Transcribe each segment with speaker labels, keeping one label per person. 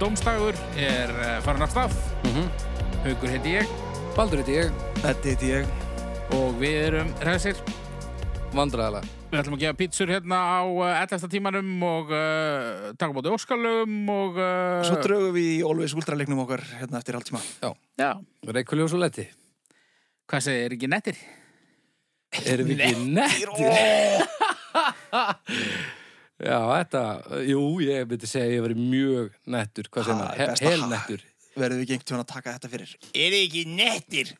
Speaker 1: Dómstagur er eh, farin af stað. Haukur heiti ég
Speaker 2: Baldur heiti ég,
Speaker 3: Þetta heiti ég.
Speaker 1: og við erum hressir.
Speaker 2: vandræðalega.
Speaker 1: Við ætlum að gefa pítsur hérna á eh, 11. tímanum og uh, taka bóti óskalögum og... Uh,
Speaker 3: Svo draugum við í Always Ultra leiknum okkar hérna eftir hálftíma.
Speaker 1: Já,
Speaker 2: Reykjuljós og leti.
Speaker 1: hvað segir, er ekki nettir?
Speaker 2: Erum við ekki nettir? Já, þetta, jú, ég myndi segja að ég hef verið mjög nettur, hvað segir
Speaker 3: Ha,
Speaker 2: maður, He-
Speaker 3: besta ha.
Speaker 2: helnettur.
Speaker 3: Verðum við gengt hún að taka þetta fyrir. Er þið ekki nettir?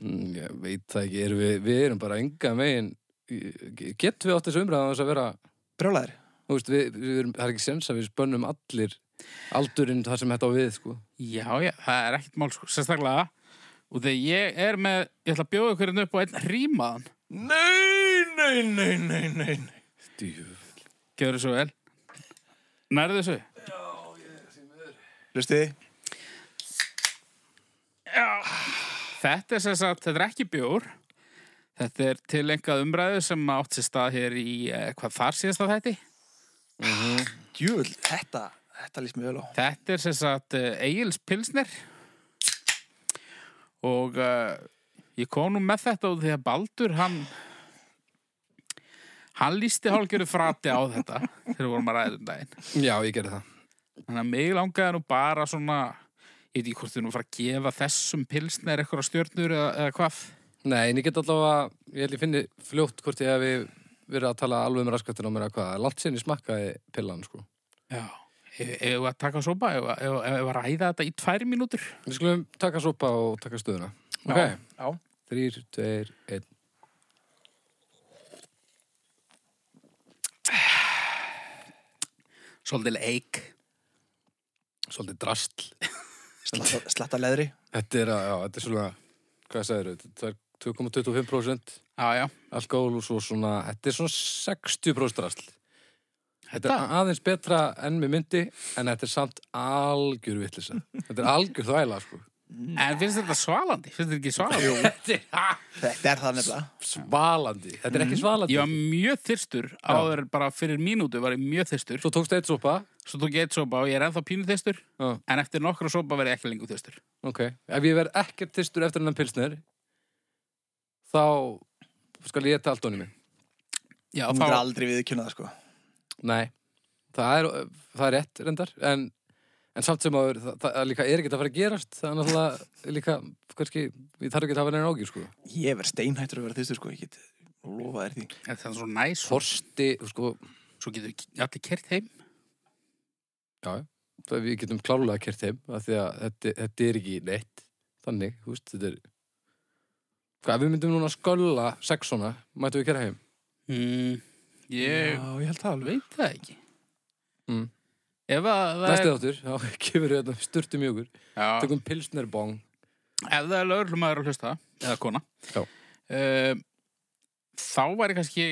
Speaker 2: Mm, Ég veit það ekki, erum við, við erum bara enga megin, getum við átt þessu umræðan þess að vera,
Speaker 3: Brjálæðir.
Speaker 2: þú veist, við, við erum, það er ekki sens að við spönnum allir aldurinn þar sem þetta á við, sko.
Speaker 1: Já, já, það er ekkert mál, sko, sérstaklega. Og þegar ég er með, ég ætla að bjóða ykkur hérna upp á einn rímaðan.
Speaker 3: Nei, nei, nei, nei, nei. nei.
Speaker 2: Djöfull.
Speaker 1: Gjör þessu vel. Nærðu þessu?
Speaker 3: Hlustið þið?
Speaker 1: Þetta er sem sagt, þetta er ekki bjór. Þetta er tilengað umræðu sem átt sér stað hér í, eh, hvað þar síðast að þetta?
Speaker 3: Djúvel, þetta, þetta líst mér vel á.
Speaker 1: Þetta er sem sagt eh, Egil's Pilsner og uh, ég kom nú með þetta og því að Baldur hann hann lísti hálfgjörðu frati á þetta þegar við vorum að ræða um daginn
Speaker 2: Já, ég gerði það.
Speaker 1: þannig að mig langaði nú bara svona ég veit ekki hvort þau nú fara að gefa þessum Pilsner eitthvað stjörnur eða, eða hvað
Speaker 2: Nei, en ég get allavega, ég held ég finni fljótt hvort ég hefði verið að tala alveg um raskatinn á mér að hvað, langt sinni smakkaði pillan, sko.
Speaker 1: Já, ef ef við að taka sopa ef ef- ef við að ræða þetta í tvær mínútur
Speaker 2: Við skulum taka sopa og taka stöðuna.
Speaker 1: Já.
Speaker 2: Ok,
Speaker 3: Já.
Speaker 2: þrýr, tveir, einn.
Speaker 1: Svolítil eik
Speaker 2: Svolítið drastl.
Speaker 3: Slatta, slatta leðri.
Speaker 2: Þetta er að, já, þetta er svona, hvað sagður þetta? Það er 2,25%
Speaker 1: Já, já,
Speaker 2: alkohol og svo svona, þetta er svona 60% drastl. Þetta
Speaker 1: Þetta?
Speaker 2: er aðeins betra enn með myndi, en þetta er samt algjör vitlisa. Þetta er algjör þvæla, sko.
Speaker 1: en finnst þetta svalandi? Finnst þetta ekki svalandi? Þetta er, ha,
Speaker 3: Þetta er það nefnilega.
Speaker 2: Svalandi. Þetta er ekki
Speaker 1: Mhm.
Speaker 2: svalandi.
Speaker 1: Ég var mjög þyrstur áður bara fyrir mínútu var ég mjög þyrstur
Speaker 2: Svo tókstu eitt sopa.
Speaker 1: svo tók ég eitt sopa og ég er ennþá pínu þyrstur
Speaker 2: Já.
Speaker 1: en eftir nokkra sopa verð ég ekki lengur þyrstur
Speaker 2: Ok, ef ég verð ekkert þyrstur eftir hennan pilsnir þá skal ég geta allt onni mig
Speaker 1: Já,
Speaker 3: Þú myndir aldrei viðkynna það, sko.
Speaker 2: Nei, það er, það er rétt reyndar en, en samt sem áður það, það líka er ekkert að fara að gerast það er náttúrulega líka kannski, ég þarf ekki að hafa neina ágjur sko
Speaker 3: Ég verð steinhættur að vera þýstur, sko. Ég get lofa þér því.
Speaker 1: Þetta er svo næs og
Speaker 2: Horsti, sko,
Speaker 1: svo getur við allir kert heim
Speaker 2: já, það við getum klárlega kert heim af því að þetta, þetta er ekki neitt þannig, þú veist, þetta er hvað, ef við myndum núna skölla sexona, mættum við kera heim
Speaker 1: mm. Ég
Speaker 3: ég held það alveg.
Speaker 1: veit það ekki
Speaker 2: Mm.
Speaker 1: Ef að það
Speaker 2: Næstu
Speaker 1: er,
Speaker 2: þáttur, þá kemur við þetta sturtum í okkur
Speaker 1: já,
Speaker 2: tökum pilsnerbong
Speaker 1: ef það er lögurlumæður að hlusta eða kona
Speaker 2: Já.
Speaker 1: um, þá væri kannski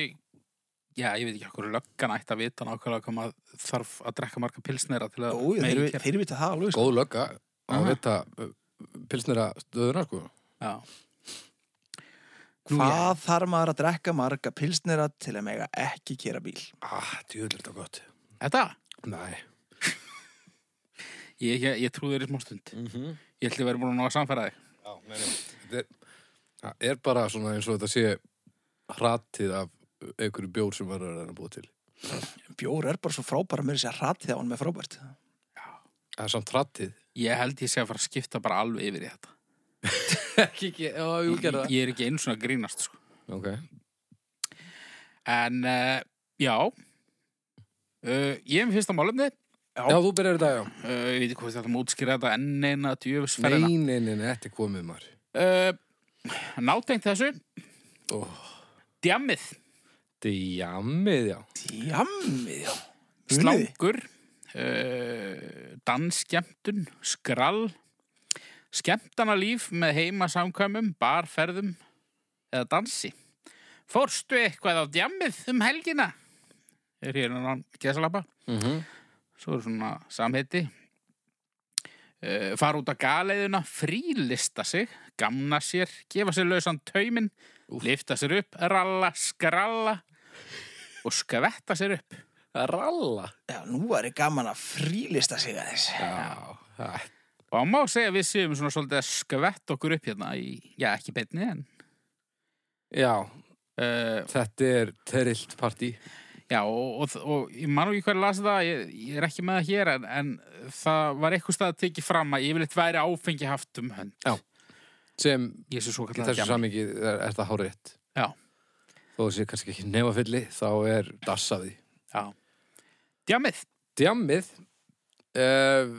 Speaker 1: já, ég veit ekki okkur löggan ætti að vita nákvæmlega hvað maður þarf að drekka marga pilsnera til að
Speaker 3: Ó,
Speaker 1: megi
Speaker 3: þeir,
Speaker 1: kera.
Speaker 3: þeir vita það alveg, sko.
Speaker 2: góð lögga að
Speaker 1: Aha.
Speaker 2: vita uh, pilsnera stöðuna sko
Speaker 1: Já. Nú,
Speaker 3: Hvað þarf maður að drekka marga pilsnera til að mega ekki kera bíl?
Speaker 2: ah, djúðlega þetta gott
Speaker 1: Þetta?
Speaker 2: nei
Speaker 1: Ég, ég, ég trúði þér í smá stund. Ég ætli að vera búin að ná að samfæra þig.
Speaker 2: Já, nei, nei. Þetta er, það er bara svona eins og þetta sé hratið af einhverju bjór sem verður að reyna að búa til
Speaker 3: Bjór er bara svo frábæra mér sér hratið á hann með frábært.
Speaker 2: það er samt hratið
Speaker 1: Ég held ég sé að fara að skipta bara alveg yfir í þetta.
Speaker 2: ekki, ekki, já, jú, gerðu
Speaker 1: Ég, ég er ekki einu svona að grínast, sko.
Speaker 2: það ok,
Speaker 1: En, uh, já, uh, ég er með fyrsta málumni.
Speaker 2: já, þú byrjar þetta, já
Speaker 1: Uh, ég veit ekki hvað þetta má útskýra þetta enn eina djöfisferðina.
Speaker 2: nei, nei, nei, nei, þetta er komið maður
Speaker 1: Uh, nátengt þessu,
Speaker 2: oh,
Speaker 1: djammið,
Speaker 2: djammið, já
Speaker 3: Jammið, já. Munið þið?
Speaker 1: slangur, uh, dansskemtun, skrall, skemtanalíf með heimasamkvæmum, barferðum eða dansi. Fórstu eitthvað á djammið um helgina? Er hér hann gesalappa?
Speaker 2: mm -hmm.
Speaker 1: Svo er svona samheiti. Uh, fara út á galeiðuna, frílista sig, gamna sér, gefa sér lausan tauminn, lifta sér upp, ralla, skralla og skvetta sér upp.
Speaker 2: Ralla.
Speaker 3: Já, nú var ég gaman að frílista sig aðeins.
Speaker 2: Já. það-
Speaker 1: Og má segja að við séum svona svolítið að skvett okkur upp hérna í, já ekki beinni en
Speaker 2: Já,
Speaker 1: uh,
Speaker 2: þetta er terrillt partí.
Speaker 1: Já og, og, og ég man nú ekki hver las það, ég, ég er ekki með það hér en, en það var eitthvað stað að tekið fram að yfirleitt væri áfengi haft um hönd.
Speaker 2: Já. Sem
Speaker 1: Ég sé svo
Speaker 2: í
Speaker 1: kallar
Speaker 2: þessu samingi er, er það hárétt.
Speaker 1: Já.
Speaker 2: Þó þessi kannski ekki nefafilli, þá er dassaði.
Speaker 1: Djamið.
Speaker 2: Djammið, uh,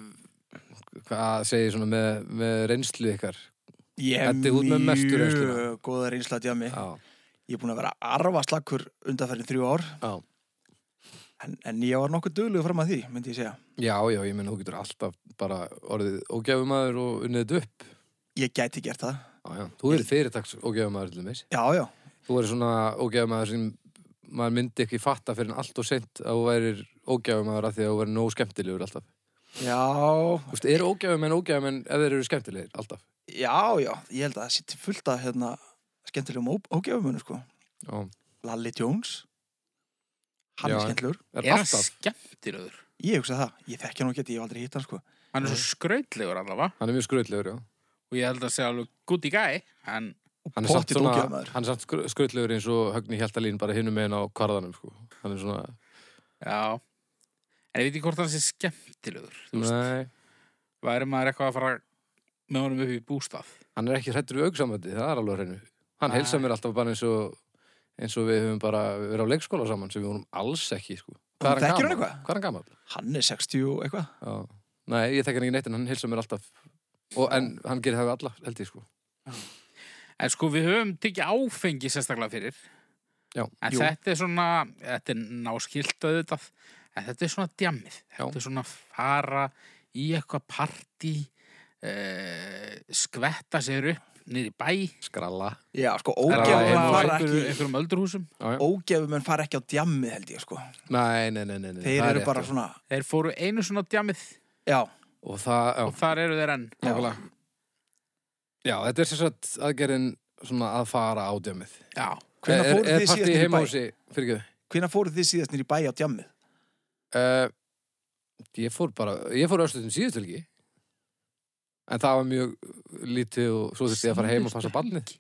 Speaker 2: hvað segir svona með, með reynslu ykkar?
Speaker 3: Ég hef
Speaker 2: Þetta er út með mestu reynsluna.
Speaker 3: mjög góða reynsla að djami.
Speaker 2: Já.
Speaker 3: Ég er búin að vera arfa slakkur undanferðin þrjú ár,
Speaker 2: Já.
Speaker 3: en, en ég var nokkuð dugluð fram að því, myndi ég segja.
Speaker 2: Já, já, ég menn þú getur alltaf bara orðið ógæfumæður og unnið þetta upp.
Speaker 3: Ég gæti gert það.
Speaker 2: Já, já. Þú verið fyrirtaks ógæfumæður til þess.
Speaker 3: Já, já.
Speaker 2: Þú verið svona ógæfumæður sem maður myndi ekki fatta fyrir en allt og seint að þú værir ógæfumæður að því að þú verið nóg skemmtilegur alltaf. Þú
Speaker 3: Já,
Speaker 2: veist, eru ógæfumenn ógæfumenn ef þeir eru skemmtilegir alltaf?
Speaker 3: já, já. Ég held að það sé til fullt af hérna, skemmtilegum ó- ógjöfumunum, sko.
Speaker 2: Já.
Speaker 3: Lalli Jones. Hann
Speaker 2: Já.
Speaker 3: er skemmtilegur.
Speaker 2: Er,
Speaker 1: Er hann
Speaker 2: alltaf.
Speaker 1: skemmtilegur?
Speaker 3: Ég hugsa það. Ég þekki hann og geti, ég hef aldrei hitt hann, sko.
Speaker 1: Hann er svo skrautlegur allavega
Speaker 2: Hann er mjög skröldlegur, já.
Speaker 1: og ég held að segja alveg good í gæ en
Speaker 2: Hann er samt,
Speaker 3: Pottþétt
Speaker 2: svona,
Speaker 3: ógæfumaður.
Speaker 2: hann er samt skröldlegur eins og Högni Hjaltalín bara hinum meginn á kvarðanum, sko. Hann er svona,
Speaker 1: já en ég veit ekki hvort hann sé skemmtilegur þú veist,
Speaker 2: nei,
Speaker 1: væri maður eitthvað að fara með honum upp í bústað
Speaker 2: hann er ekki hrættur við augsamöndi, það er alveg á hreinu. Hann
Speaker 1: Nei.
Speaker 2: heilsa mér alltaf bara eins og, eins og við höfum bara verið á leikskóla saman sem við vorum alls ekki, sko. Hvað er
Speaker 3: Þekkir hann
Speaker 2: gamall?
Speaker 3: eitthvað?
Speaker 2: Hvað er hann gammal?
Speaker 3: Hann er 60 og eitthvað.
Speaker 2: Já. Nei, ég þekkir hann ekki neitt en hann heilsa mér alltaf. Og, en hann gerir það við alla, held ég, sko.
Speaker 1: en sko við höfum tekið áfengi sérstaklega fyrir
Speaker 2: Já.
Speaker 1: en
Speaker 3: Jú.
Speaker 1: þetta er svona þetta er náskilt auðvitað en þetta er svona djammið þetta er svona fara í eitthvað partí eh, skvetta sér upp niður í bæ
Speaker 2: Skralla.
Speaker 3: Já, sko,
Speaker 1: Eða
Speaker 2: já,
Speaker 1: inn
Speaker 3: ógjöfumenn
Speaker 1: á
Speaker 3: fara
Speaker 1: einhverju-
Speaker 3: ekki...
Speaker 1: einhverjum öldurhúsum
Speaker 2: Já, já.
Speaker 3: Ógjöfumenn fara ekki á djamið, held ég, sko.
Speaker 2: Nei, nei, nei, nei. nei,
Speaker 3: Þeir
Speaker 2: það er
Speaker 3: eru
Speaker 2: rétt,
Speaker 3: bara
Speaker 2: já.
Speaker 3: svona,
Speaker 1: þeir fóru einu svona djamið
Speaker 3: já,
Speaker 2: Og það, já.
Speaker 1: og þar eru þeir enn
Speaker 3: Já.
Speaker 2: Nákvæmlega. Já, þetta er sér satt aðgerðin svona að fara á djömið.
Speaker 1: já,
Speaker 3: Hvenær
Speaker 2: Eh, Er-
Speaker 3: fóruð
Speaker 2: er
Speaker 3: þið
Speaker 2: partí
Speaker 3: síðast niður í
Speaker 2: heima
Speaker 3: bæ?
Speaker 2: húsi, fyrir ekki?
Speaker 3: hvenær fóruð þið síðast nýri bæ á djamið?
Speaker 2: Uh, ég fór bara, ég fór östutum síðustu helgi. En það var mjög lítið og svo þurfti ég að fara heim og passa barnið.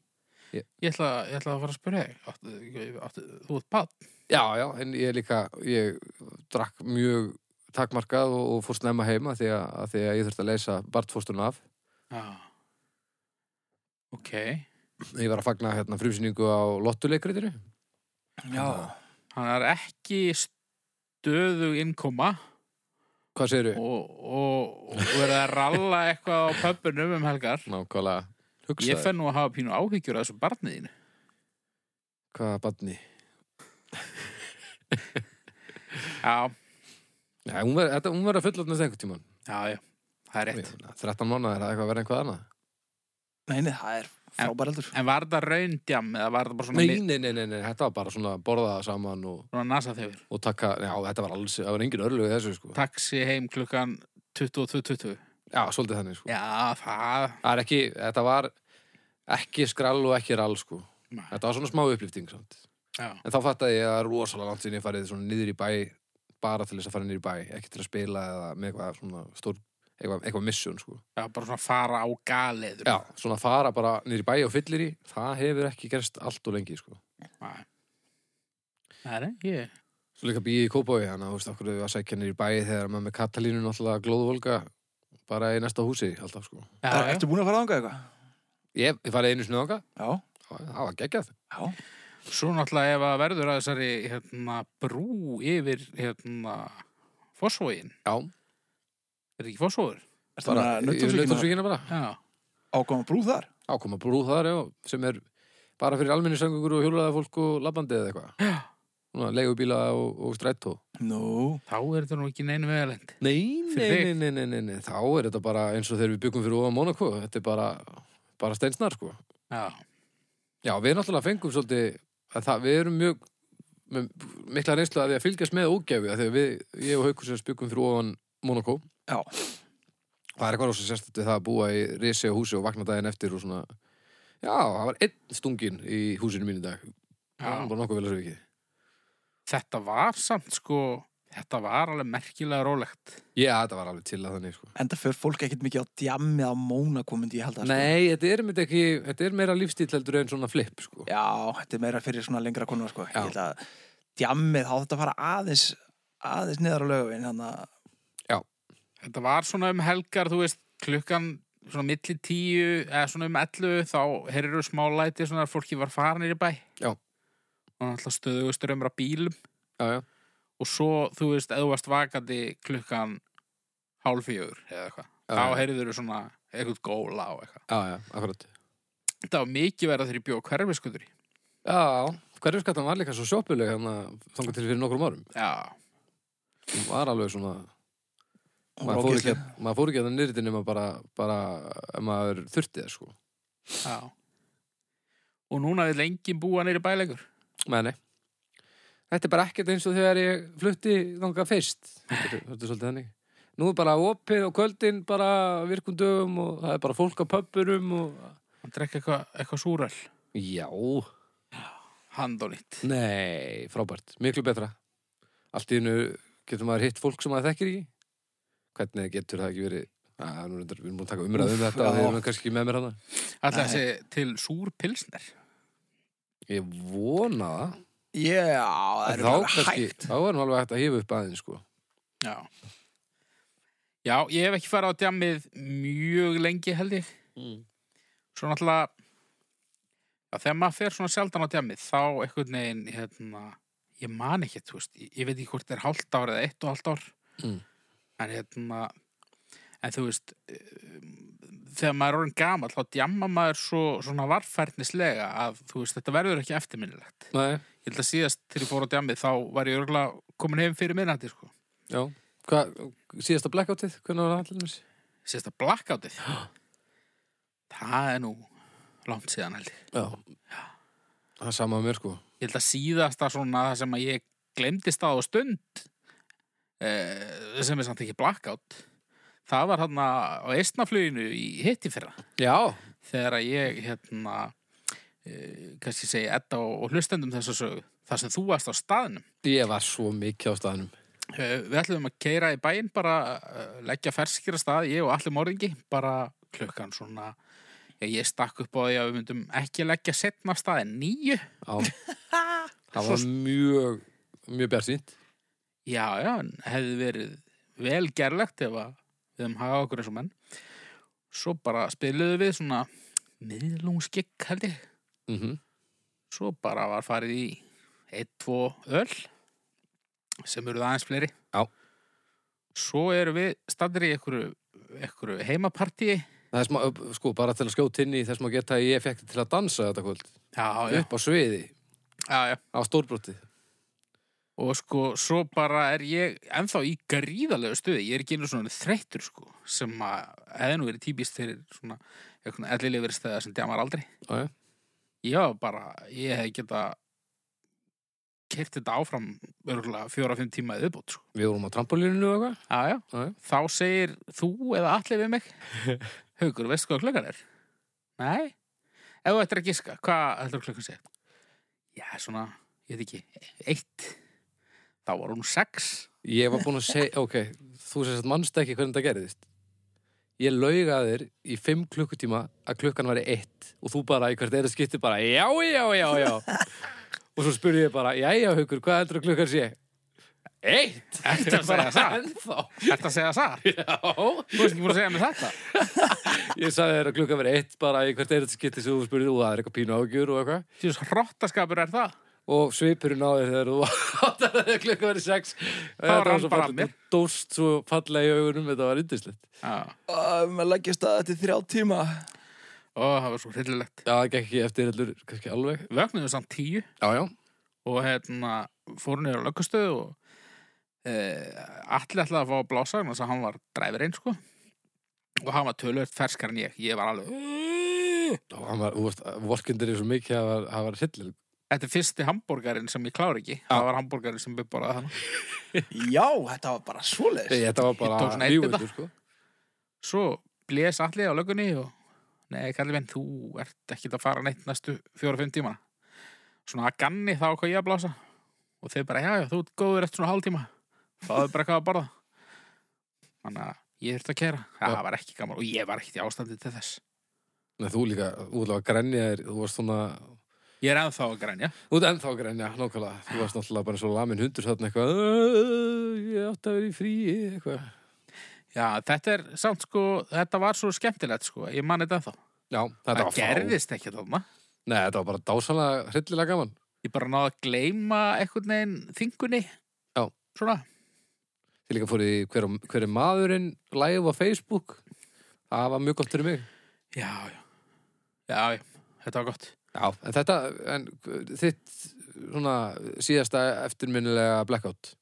Speaker 1: Ég, ég, ætla, ég ætla að fara að spyrja þig áttu- áttu- Þú ert bann
Speaker 2: Já, já, en ég líka, ég drakk mjög takmarkað og, og fór snemma heima því að, að því að ég þurfti að leysa barnfóstunum af.
Speaker 1: Já Ok
Speaker 2: Ég var að fagna hérna frumsýningu á lottuleikritinu.
Speaker 3: Já,
Speaker 1: Hann er ekki stöðu innkoma
Speaker 2: Hvað segirðu?
Speaker 1: og, og, og verið að ralla eitthvað á pöppunum um helgar
Speaker 2: Nákvæmlega, hugsaðu.
Speaker 1: Ég fenn nú að hafa pínu áhyggjur af þessu barniðinu
Speaker 2: Hvaða barni?
Speaker 1: Já,
Speaker 2: Já, hún var, þetta, hún var að fullotnast einhvern tímann.
Speaker 1: já, já, það er rétt
Speaker 2: Ég meina, 13 mánuðir, það er eitthvað að vera einhvað annað.
Speaker 3: neini, það er frábær heldur.
Speaker 1: En var þetta raundjam eða var þetta bara svona,
Speaker 2: Nei,
Speaker 1: li-
Speaker 2: nei, nei, nei, nei, þetta var bara svona að borða saman og,
Speaker 1: svona nasa þegar
Speaker 2: og taka, já, þetta var alls, það var engin örlög í þessu, sko.
Speaker 1: Taxi heim klukkan 22.20
Speaker 2: Já, svolítið þannig, sko.
Speaker 1: Já, það
Speaker 2: Það er ekki, þetta var ekki skrall og ekki rall, sko.
Speaker 1: Nei.
Speaker 2: Þetta var svona smá upplýfting, samt.
Speaker 1: Já,
Speaker 2: En þá fattaði ég að rosalega langt sinni ég farið svona niður í bæ, bara til þess að fara niður í bæ, ekki til að spila eða með eitthvað svona stór, eitthvað, eitthvað mission, sko.
Speaker 1: já bara svona fara á galeður
Speaker 2: Já, svona fara bara niður í bæ og fyllir í, það hefur ekki gerst allt og lengi, sko.
Speaker 1: Nei. Nei, ég
Speaker 2: Svo líka býði í Kópaví, þannig að þú veist okkur við að sækja nýr í bæi þegar maður með Katalínu náttúrulega glóðvolga bara í næsta húsi alltaf sko.
Speaker 1: já,
Speaker 3: Er,
Speaker 1: já.
Speaker 3: ertu búin að fara þangað eitthvað?
Speaker 2: Ég, ég farið einu sinni þangað,
Speaker 3: Já,
Speaker 2: það það var geggjað.
Speaker 3: já,
Speaker 1: Svo náttúrulega ef að verður að þessari hérna, brú yfir hérna, fósvógin
Speaker 2: Já,
Speaker 1: Er ekki fósvógur?
Speaker 3: ertu
Speaker 2: bara
Speaker 3: búin að
Speaker 2: yfir nautalsvíkina
Speaker 3: nöttursvíkina
Speaker 2: bara.
Speaker 1: Já,
Speaker 3: ákvæma brú þar?
Speaker 2: Ákoma brú þar, já, sem er bara fyrir almennisöngungur og hjólaða fólk og labbandi eða eitthvað. Núna, leigubíla og, og strættó.
Speaker 3: Nú,
Speaker 1: þá er þetta nú ekki neinu vegalend
Speaker 2: Nei, nei,
Speaker 1: þig?
Speaker 2: nei, nei, nei, nei, þá er þetta bara eins og þegar við byggum fyrir ofan Monaco, þetta er bara, bara steinsnar sko.
Speaker 1: Já,
Speaker 2: Já, við náttúrulega fengum svolítið að það, við erum mjög með mikla reynslu að því að fylgjast með ógæfu að þegar við, ég og Haukur sér spjökkum fyrir ofan Monaco
Speaker 3: Já.
Speaker 2: Það er eitthvað rosa sérstætt við það að búa í risi á húsi og vakna daginn eftir og svona Já, það var einn stungin í húsinu mínu í dag
Speaker 1: já.
Speaker 2: Bara nokkuð vel að svo ekki
Speaker 1: Þetta var samt sko Þetta var alveg merkilega rólegt.
Speaker 2: Já, þetta var alveg til að þannig, sko.
Speaker 3: Enda fyrir fólk ekkert mikið á djammi á móna komundi, ég sko. held að
Speaker 2: Nei, þetta er, einmitt ekki, þetta er meira lífstíl heldur en svona flip, sko.
Speaker 3: sko. Já, þetta er meira fyrir svona lengra konur, sko.
Speaker 2: Já.
Speaker 3: Ég held að djammið, þá þetta fara aðeins, aðeins niður á lögum, þannig að,
Speaker 1: Þetta var svona um helgar, þú veist, klukkan svona milli tíu eða svona um ellu þá heyrðu smálæti svona að fólki var farinir í bæ.
Speaker 2: Já.
Speaker 1: Og náttúrulega stöðugust raumra bílum
Speaker 2: Já, já.
Speaker 1: og svo, þú veist, eða þú varst vakandi klukkan hálf fjögur eða eitthvað.
Speaker 2: Já,
Speaker 1: Þá
Speaker 2: já.
Speaker 1: heyrðu svona eitthvað góla og eitthvað.
Speaker 2: Já, já, akkurat.
Speaker 1: Þetta var mikið verða þegar ég bjóð hverfiskutri.
Speaker 2: Já, hverfiskattan var líka svo sjópuleg hann að þanga til fyrir nokkrum árum.
Speaker 1: Já,
Speaker 2: Hún var alveg svona,
Speaker 3: hún var
Speaker 2: maður fór ekki,
Speaker 3: ógeðsleg.
Speaker 2: maður fór ekki að það nyrti nema bara, bara, ef maður þurfti það, sko.
Speaker 1: já. Og núna vil enginn búa neyri bæleikur.
Speaker 2: Nei, nei. Þetta er bara ekkert eins og þegar ég flutti þanga fyrst. Þetta er þetta er svolítið þannig. Nú er bara opið og kvöldin bara virkum dögum og það er bara fólk á pöppurum og...
Speaker 1: Hann drekka eitthvað eitthva súröl.
Speaker 2: Já,
Speaker 1: Hand og nýtt.
Speaker 2: nei, frábært. Miklu betra. Allt í hennu getur maður hitt fólk sem maður þekkir í. Hvernig getur það ekki verið... Æ, nú er þetta, við erum búin að taka umræðum
Speaker 3: Úff,
Speaker 2: þetta og
Speaker 3: já.
Speaker 2: þeir eru kannski ekki með mér hana.
Speaker 1: Alltaf
Speaker 3: Nei.
Speaker 1: þessi til súr pilsner.
Speaker 2: Ég vona það.
Speaker 3: Já, það er
Speaker 2: Þá
Speaker 3: bara
Speaker 2: kannski-
Speaker 3: hægt.
Speaker 2: Þá erum alveg hægt að hifa upp aðeins, sko.
Speaker 1: Já. Já, ég hef ekki farið á djammið mjög lengi held ég.
Speaker 2: Mm.
Speaker 1: Svo náttúrulega, já, þegar maður fer svona sjaldan á djammið, þá einhvern veginn, hérna, ég man ekki, þú veist, ég, ég veit ekki hvort það er hálft ár eða eitt og hálft ár.
Speaker 2: Mm.
Speaker 1: En hérna, en þú veist, um, þegar maður er orðin gamall, þá djamma maður svo, svona varfærnislega að, þú veist, þetta verður ekki eftirminnilegt.
Speaker 2: Nei,
Speaker 1: Ég held að síðast til ég fór á djammið, þá var ég örgulega komin heim fyrir minnandi, sko.
Speaker 2: já. Hva, síðasta blackoutið, hvernig var það allir mér?
Speaker 1: sérsta blackoutið það er nú langt síðan held ég
Speaker 2: Já. Það er sama með mér sko.
Speaker 1: ég held að síðasta svona það sem að ég glemdi stað og stund eh, sem er samt ekki blackout það var hann á eistnafluginu í hitti fyrra
Speaker 2: Já.
Speaker 1: þegar að ég hérna eh, kannski segi Edda og, og hlustendum þess að sögu þar sem þú varst á staðnum
Speaker 2: Ég var svo mikið á staðnum.
Speaker 1: Eh, við ætlum að keira í bæinn bara eh, leggja ferskir að stað, ég og allir morðingi bara klukkan svona já, ég stakk upp á því að við myndum ekki leggja setna af stað en nýju
Speaker 2: Já. það
Speaker 1: Svo
Speaker 2: var mjög, mjög bjarsýnt.
Speaker 1: já, já, en hefði verið vel gerlegt ef að við hefum hagað okkur eins og menn svo bara spiluðu við svona miðlungskikk held ég
Speaker 2: Mm -hmm.
Speaker 1: svo bara var farið í eitt, tvo öl sem eru það aðeins fleiri
Speaker 2: Já.
Speaker 1: svo eru við stadir í einhverju, einhverju heimapartíi
Speaker 2: Það er smá, sko, bara til að skjóta inn í þess maður geta að ég fekk til að dansa þetta kvöld.
Speaker 1: Já, já,
Speaker 2: Upp á sviði,
Speaker 1: já, já.
Speaker 2: á stórbrotið.
Speaker 1: Og sko, svo bara er ég ennþá í gríðalegu stuði. Ég er ekki einu svona þreyttur, sko, sem að hefði nú verið típist fyrir svona eitthvað ellilega verið stæða sem djamar aldrei.
Speaker 2: Já, já.
Speaker 1: Ég var bara, ég hefði geta kert þetta áfram örgulega fjóra-fimm tíma eða viðbútt, sko.
Speaker 2: Við vorum á trampolíninu og eitthvað.
Speaker 1: Já, já.
Speaker 2: Já, já.
Speaker 1: Þá segir þú eða allir við mig, Haukur, veistu hvað klukkan er? Nei? Ef þú ættir að giska, hvað heldur klukkan sé? Já, svona, ég veit ekki, eitt. Þá var hún sex.
Speaker 2: Ég var búin að segja, ok, þú sérst að mannst ekki hvernig það gerðist. Ég lauga þér í fimm klukkutíma að klukkan væri eitt og þú bara í hvert eða skipti bara, já, já, já, já. og svo spurði ég bara, já, já, haukur, hvað heldur að klukkan sé? Eitt!
Speaker 1: Ertu að segja það?
Speaker 2: Ennþá.
Speaker 1: Ertu að segja það?
Speaker 2: Já.
Speaker 1: Þú veist ekki búin að segja mér þetta?
Speaker 2: Ég sagði þér að klukkan væri eitt bara í hvert eða skipti sem þú spurði, og það er eitthvað pínu ágjur og eitthvað.
Speaker 1: Þú veist, hrottaskapur er það.
Speaker 2: Og svipurinn á þér þegar þú áttar að klukkan væri sex.
Speaker 1: var
Speaker 2: Þetta
Speaker 1: hann
Speaker 2: svo
Speaker 1: bara
Speaker 2: fallegt.
Speaker 1: mér.
Speaker 2: Þú Dóst svo fallega í augunum, þetta var yndislegt.
Speaker 1: Já.
Speaker 3: Uh, maður leggjast að þetta er þrjá tíma.
Speaker 1: Ó, það var svo hryllilegt.
Speaker 2: Já, það gekk ekki eftir allur, kannski alveg.
Speaker 1: Vögnuðu samt tíu
Speaker 2: Já, já.
Speaker 1: og hérna fór niður á löggustöðu og e, allir ætlaði að fá að blása hann þess að hann var dræfirinn, sko. Og hann var tölvöld ferskar en ég. Ég var alveg...
Speaker 2: Og Mm. hann var, þú veist, vorkendur er svo mikið að var- hann var hryllileg.
Speaker 1: Þetta er fyrsti hambúrgarinn sem ég klára ekki. Það var hambúrgarinn sem við borðaði þannig.
Speaker 3: Já, þetta var bara svoleiðis.
Speaker 2: Þetta var
Speaker 1: Ég tók svona hérna.
Speaker 2: bara
Speaker 1: eitt
Speaker 2: lífendur,
Speaker 1: þetta.
Speaker 2: sko.
Speaker 1: Svo blés allir á löggunni og... Nei, kallir minn, þú ert ekkit að fara neitt næstu fjóra-fimm tímana. Svona að ganni þá hvað ég að blása. Og þeir bara, já, já, þú ert góður eftir svona hálftíma. fáðu bara eitthvað að borða þannig að ég þurfti að kæra það var ekki gaman og ég var ekkert í ástandi til þess
Speaker 2: Nei, þú líka, þú ætlaði að grænja þér, þú varst svona,
Speaker 1: ég er ennþá að grænja
Speaker 2: þú ert ennþá að grænja, nákvæmlega, þú varst náttúrulega bara svo lamin hundur þarna eitthvað, "Æ, ég átti að vera í fríi, eitthvað.
Speaker 1: já þetta er samt sko þetta var svo skemmtilegt sko ég man þetta ennþá
Speaker 2: Já, þetta var
Speaker 1: það
Speaker 2: fá.
Speaker 1: gerðist ekki þarna
Speaker 2: Nei, þetta var bara dásalega, hryllilega gaman.
Speaker 1: ég bara náði að gleyma einhvern veginn þingunni
Speaker 2: Já.
Speaker 1: svona
Speaker 2: Ég líka fór í hver, hver er maðurinn live á Facebook, það var mjög gott fyrir mig.
Speaker 1: já já já já þetta var gott
Speaker 2: Já, en þetta, en þitt svona síðasta eftirminnilega blackout.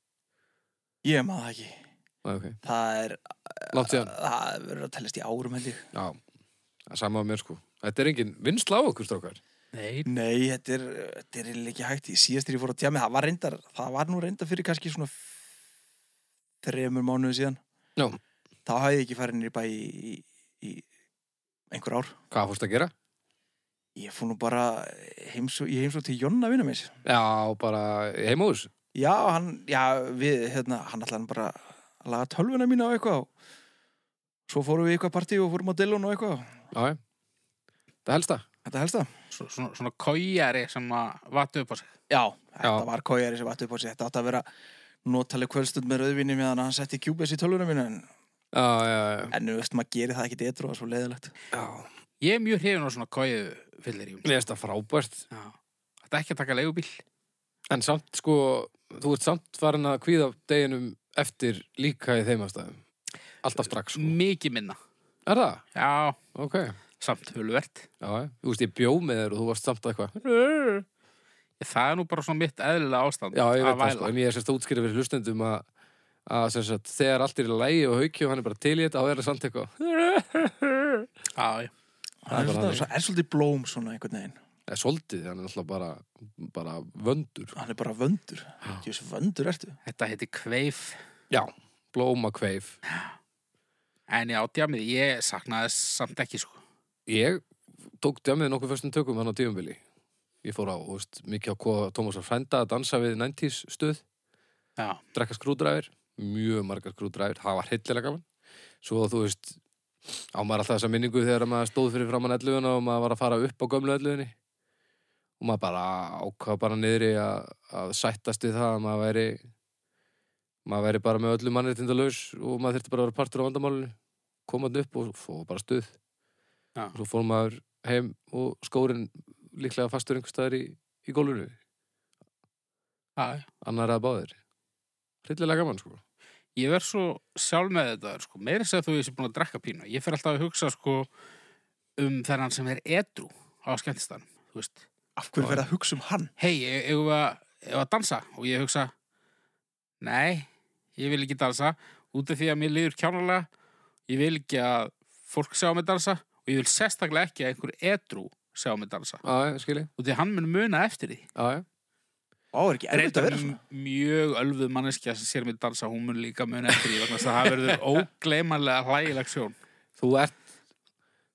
Speaker 3: Ég maður það ekki.
Speaker 2: Nei, ok,
Speaker 3: Það er,
Speaker 2: látt síðan.
Speaker 3: það verður að tellast í árum held ég.
Speaker 2: Já, það er sama á mér sko. Þetta er engin vinsla á okkur, strókar.
Speaker 1: nei
Speaker 3: Nei, þetta er, þetta er eiginlega ekki hægt. Ég síðast þegar ég fór á tjámi, það var reyndar, það var nú reyndar fyrir kannski svona f- þremur mánuðu síðan.
Speaker 2: Já.
Speaker 3: Þá hafði ég ekki farið nýr í bæ í, í, í einhver ár.
Speaker 2: Hvað fórst að gera?
Speaker 3: Ég fór nú bara heimsó, ég heimsó til Jonna vinna mér.
Speaker 2: Já, bara heimóðs.
Speaker 3: Já, hann, já, við, hérna, hann ætlaði hann bara að laga tölvuna mína og eitthvað. og Svo fórum við í eitthvað partí og fórum á Dillon og eitthvað.
Speaker 2: Já, já. Það helst það.
Speaker 3: Þetta helst það.
Speaker 1: svo, svona, svona kójari sem að vatu upp á sig
Speaker 3: Já, þetta
Speaker 2: Já.
Speaker 3: var kójari sem vatn upp á sig Þetta átti að vera notaleg kvöldstund með rauðvinni meðan hann setti QBS í tölvuna mínu en,
Speaker 2: Já, já, já.
Speaker 3: en þú veist, maður gerir það ekki detru og svo leiðilegt
Speaker 2: Já,
Speaker 1: ég er mjög hrifin á svona kóju fyllir í
Speaker 2: ég veist það frábært.
Speaker 1: þetta er ekki að taka leigubíl
Speaker 2: En samt, sko, þú ert samt farin að kvíða deginum eftir líka í þeim aðstæðum. Alltaf strax, sko.
Speaker 1: mikið minna
Speaker 2: Er það?
Speaker 1: já
Speaker 2: Ok. Já,
Speaker 1: samt hulvert
Speaker 2: já. Þú veist, ég bjó með þér og þú varst samt eitthvað.
Speaker 1: það er nú bara svona mitt eðlilega ástand
Speaker 2: Já, ég veit
Speaker 1: að
Speaker 2: það,
Speaker 1: væla.
Speaker 2: sko. En ég er sérst að útskýra fyrir hlustendum að að sem sagt, þegar allt er í lægi og hauki og hann er bara til í þetta, þá er það samt eitthvað.
Speaker 1: Já, já.
Speaker 2: Það er
Speaker 3: Það er,
Speaker 2: bara
Speaker 3: svolítið,
Speaker 2: þannig.
Speaker 3: svo- er svolítið blóm svona einhvern veginn
Speaker 2: Það er soldið, hann er náttúrulega bara, bara vöndur.
Speaker 3: Hann er bara vöndur Jós, vöndur ertu
Speaker 1: þetta heiti kveif
Speaker 2: Já. Blóma kveif.
Speaker 1: en já, djamið, ég saknaði þess samt ekki sko.
Speaker 2: Ég tók djamið nokkuð fyrstum tökum hann á tíumbili. Ég fór á, þú veist, mikið á kofa Tómasar Frænda að dansa við 90s stuð,
Speaker 1: já,
Speaker 2: drekka skrúdræfir, mjög margar skrúdræfir, það var heillilega gaman. Svo þú veist, á maður alltaf þessa minningu þegar maður stóð fyrir framann 11 og maður var að fara upp á gömlu 11 og maður bara ákvað bara niðri að, að sættast við það að maður væri maður væri bara með öllum mannréttinda laus og maður þyrfti bara að vera partur á vandamálinu komandi upp og, og bara stuð
Speaker 1: Já.
Speaker 2: og svo fór maður heim og skórin líklega fastur einhver staðar í, í gólfinu
Speaker 1: já, já.
Speaker 2: annar að báðir hryllilega gaman sko
Speaker 1: ég verð svo sjálf með þetta sko. meira þess að þú ég sé búin að drekka pínu ég fer alltaf að hugsa sko, um þennan sem er edru á skemmtistanum þú veist,
Speaker 3: Af hverju verða að hugsa um hann?
Speaker 1: hei, ég var að, e-, eigum við að dansa og ég hugsa nei, ég vil ekki dansa út af því að mér liður kjánulega ég vil ekki að fólk sjá mig dansa og ég vil sérstaklega ekki að einhver edru sjá mig dansa
Speaker 2: Já, já, skilji,
Speaker 1: og því að hann mun muna eftir því
Speaker 2: já, já
Speaker 3: Ó, er ekki erfitt að vera svona?
Speaker 1: m- mjög ölfuð manneskja sem sér mér dansa hún mun líka mun eftir því vegna þess að það verður ógleymanlega hlægileg sjón
Speaker 2: þú ert,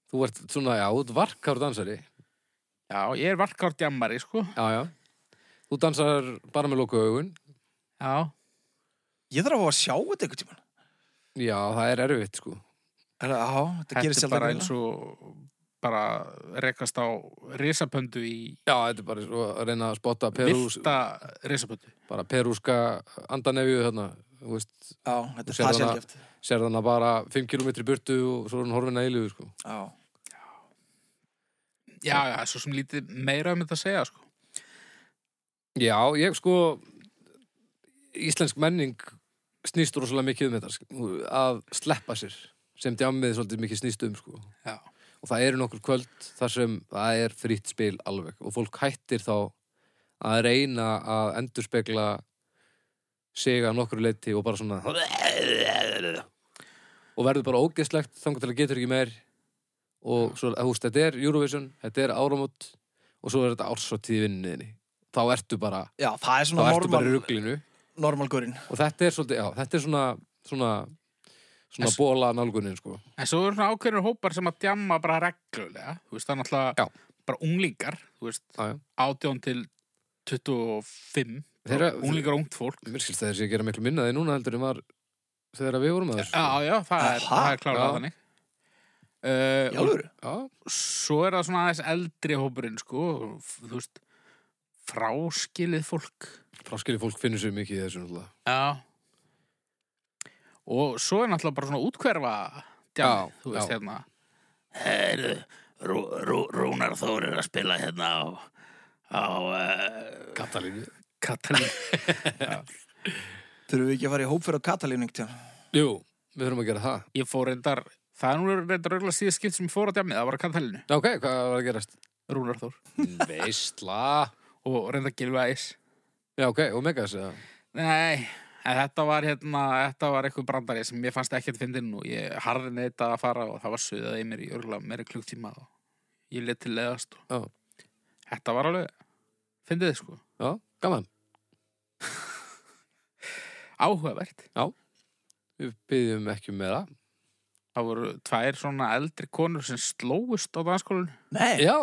Speaker 2: þú ert svona, já, þú ert varkár dansari
Speaker 1: já, ég er varkár djammari sko
Speaker 2: já, já, þú dansar bara með loku augun
Speaker 1: já,
Speaker 3: Ég þarf að fá að sjá þetta einhvern tímann
Speaker 2: já, það er erfitt sko
Speaker 3: Er það- Já, þetta
Speaker 1: þetta
Speaker 3: gerir
Speaker 1: er
Speaker 3: sjálf
Speaker 1: bara eins og bara rekast á risapöndu í
Speaker 2: já, þetta er bara svo að reyna að spotta perús,
Speaker 1: virta risapöndu
Speaker 2: bara perúska andanefju þarna, þú veist
Speaker 3: Já, þetta
Speaker 2: Þú
Speaker 3: er
Speaker 2: sérð
Speaker 3: það
Speaker 2: hana-
Speaker 3: sjálfgeft
Speaker 2: sér þarna bara 5 km í burtu og svo er hún horfin að eilífu sko
Speaker 3: Já,
Speaker 1: já, já, svo sem lítið meira um þetta að segja sko
Speaker 2: já, ég sko íslensk menning snýst rosalega mikið um þetta sko, að sleppa sér sem djámið svolítið mikið snýst um sko
Speaker 1: já,
Speaker 2: og það eru nokkur kvöld þar sem það er fritt spil alveg og fólk hættir þá að reyna að endurspegla sig að nokkur leyti og bara svona og verður bara ógeðslegt þangar til að getur ekki meir og svo, þú veist, þetta er Eurovision þetta er áramót og svo er þetta ársóttíð vinninni þá ertu bara,
Speaker 3: já það
Speaker 2: þá
Speaker 3: er svona
Speaker 2: ertu bara í
Speaker 3: normal,
Speaker 2: ruglinu
Speaker 3: normalgurinn
Speaker 2: og þetta er svolítið, já, þetta er svona svona, svona
Speaker 1: En-
Speaker 2: bóla nálgunin sko.
Speaker 1: en svo eru svona ákveðnir hópar sem að djamma bara reglulega, þú veist, það er náttúrulega
Speaker 2: Já.
Speaker 1: bara unglingar, þú veist
Speaker 2: já, já,
Speaker 1: 18 til 25
Speaker 2: Þeirra,
Speaker 1: Unglingar og ungt fólk.
Speaker 2: Mér skilst að þeir séu að gera miklu minnaði núna heldur en var þegar við vorum að þessu. sko.
Speaker 1: Já, já, það er,
Speaker 3: Aha.
Speaker 1: það er klárað
Speaker 2: Já.
Speaker 1: þannig. Uh, og
Speaker 3: Jálfur?
Speaker 2: Já,
Speaker 1: svo er það svona aðeins eldri hópurinn, sko, og f- þú veist, fráskilið fólk.
Speaker 2: fráskilið fólk finnur sér mikið í þessu náttúrulega.
Speaker 1: Já. Og svo er náttúrulega bara svona útkverfa djá,
Speaker 2: Já,
Speaker 1: þú veist,
Speaker 2: já.
Speaker 1: hérna. Heru, rú, rú, Rúnar Þór er að spila hérna á, á uh,
Speaker 2: Katalínu.
Speaker 1: Katalín.
Speaker 3: Þurfum við ekki að fara í hópferð á Katalínu einhvern tímann?
Speaker 2: Jú, við þurfum að gera það.
Speaker 1: Ég fór reyndar, það er nú reyndar örgulega síðan skipt sem ég fór á djámið, það var á Katalínu,
Speaker 2: Já, ok, hvað var að gerast?
Speaker 1: Rúnar Þór.
Speaker 2: Veistla.
Speaker 1: Og reyndar Gilvi Æs.
Speaker 2: Já, ok, og megas, já.
Speaker 1: Nei, en þetta var hérna, þetta var eitthvað brandari sem ég fannst ekkert fyndin og ég harði neyta að fara og það var suðað í mér í örgulega meiri klukktíma og ég let til leðast og
Speaker 2: Já.
Speaker 1: þetta var alveg, fyndið þið sko,
Speaker 2: Já, gaman.
Speaker 1: áhugavert.
Speaker 2: Við byggjum ekki um með það.
Speaker 1: Það voru tvær svona eldri konur sem slóist á danskólinu.
Speaker 3: Nei,
Speaker 2: Já,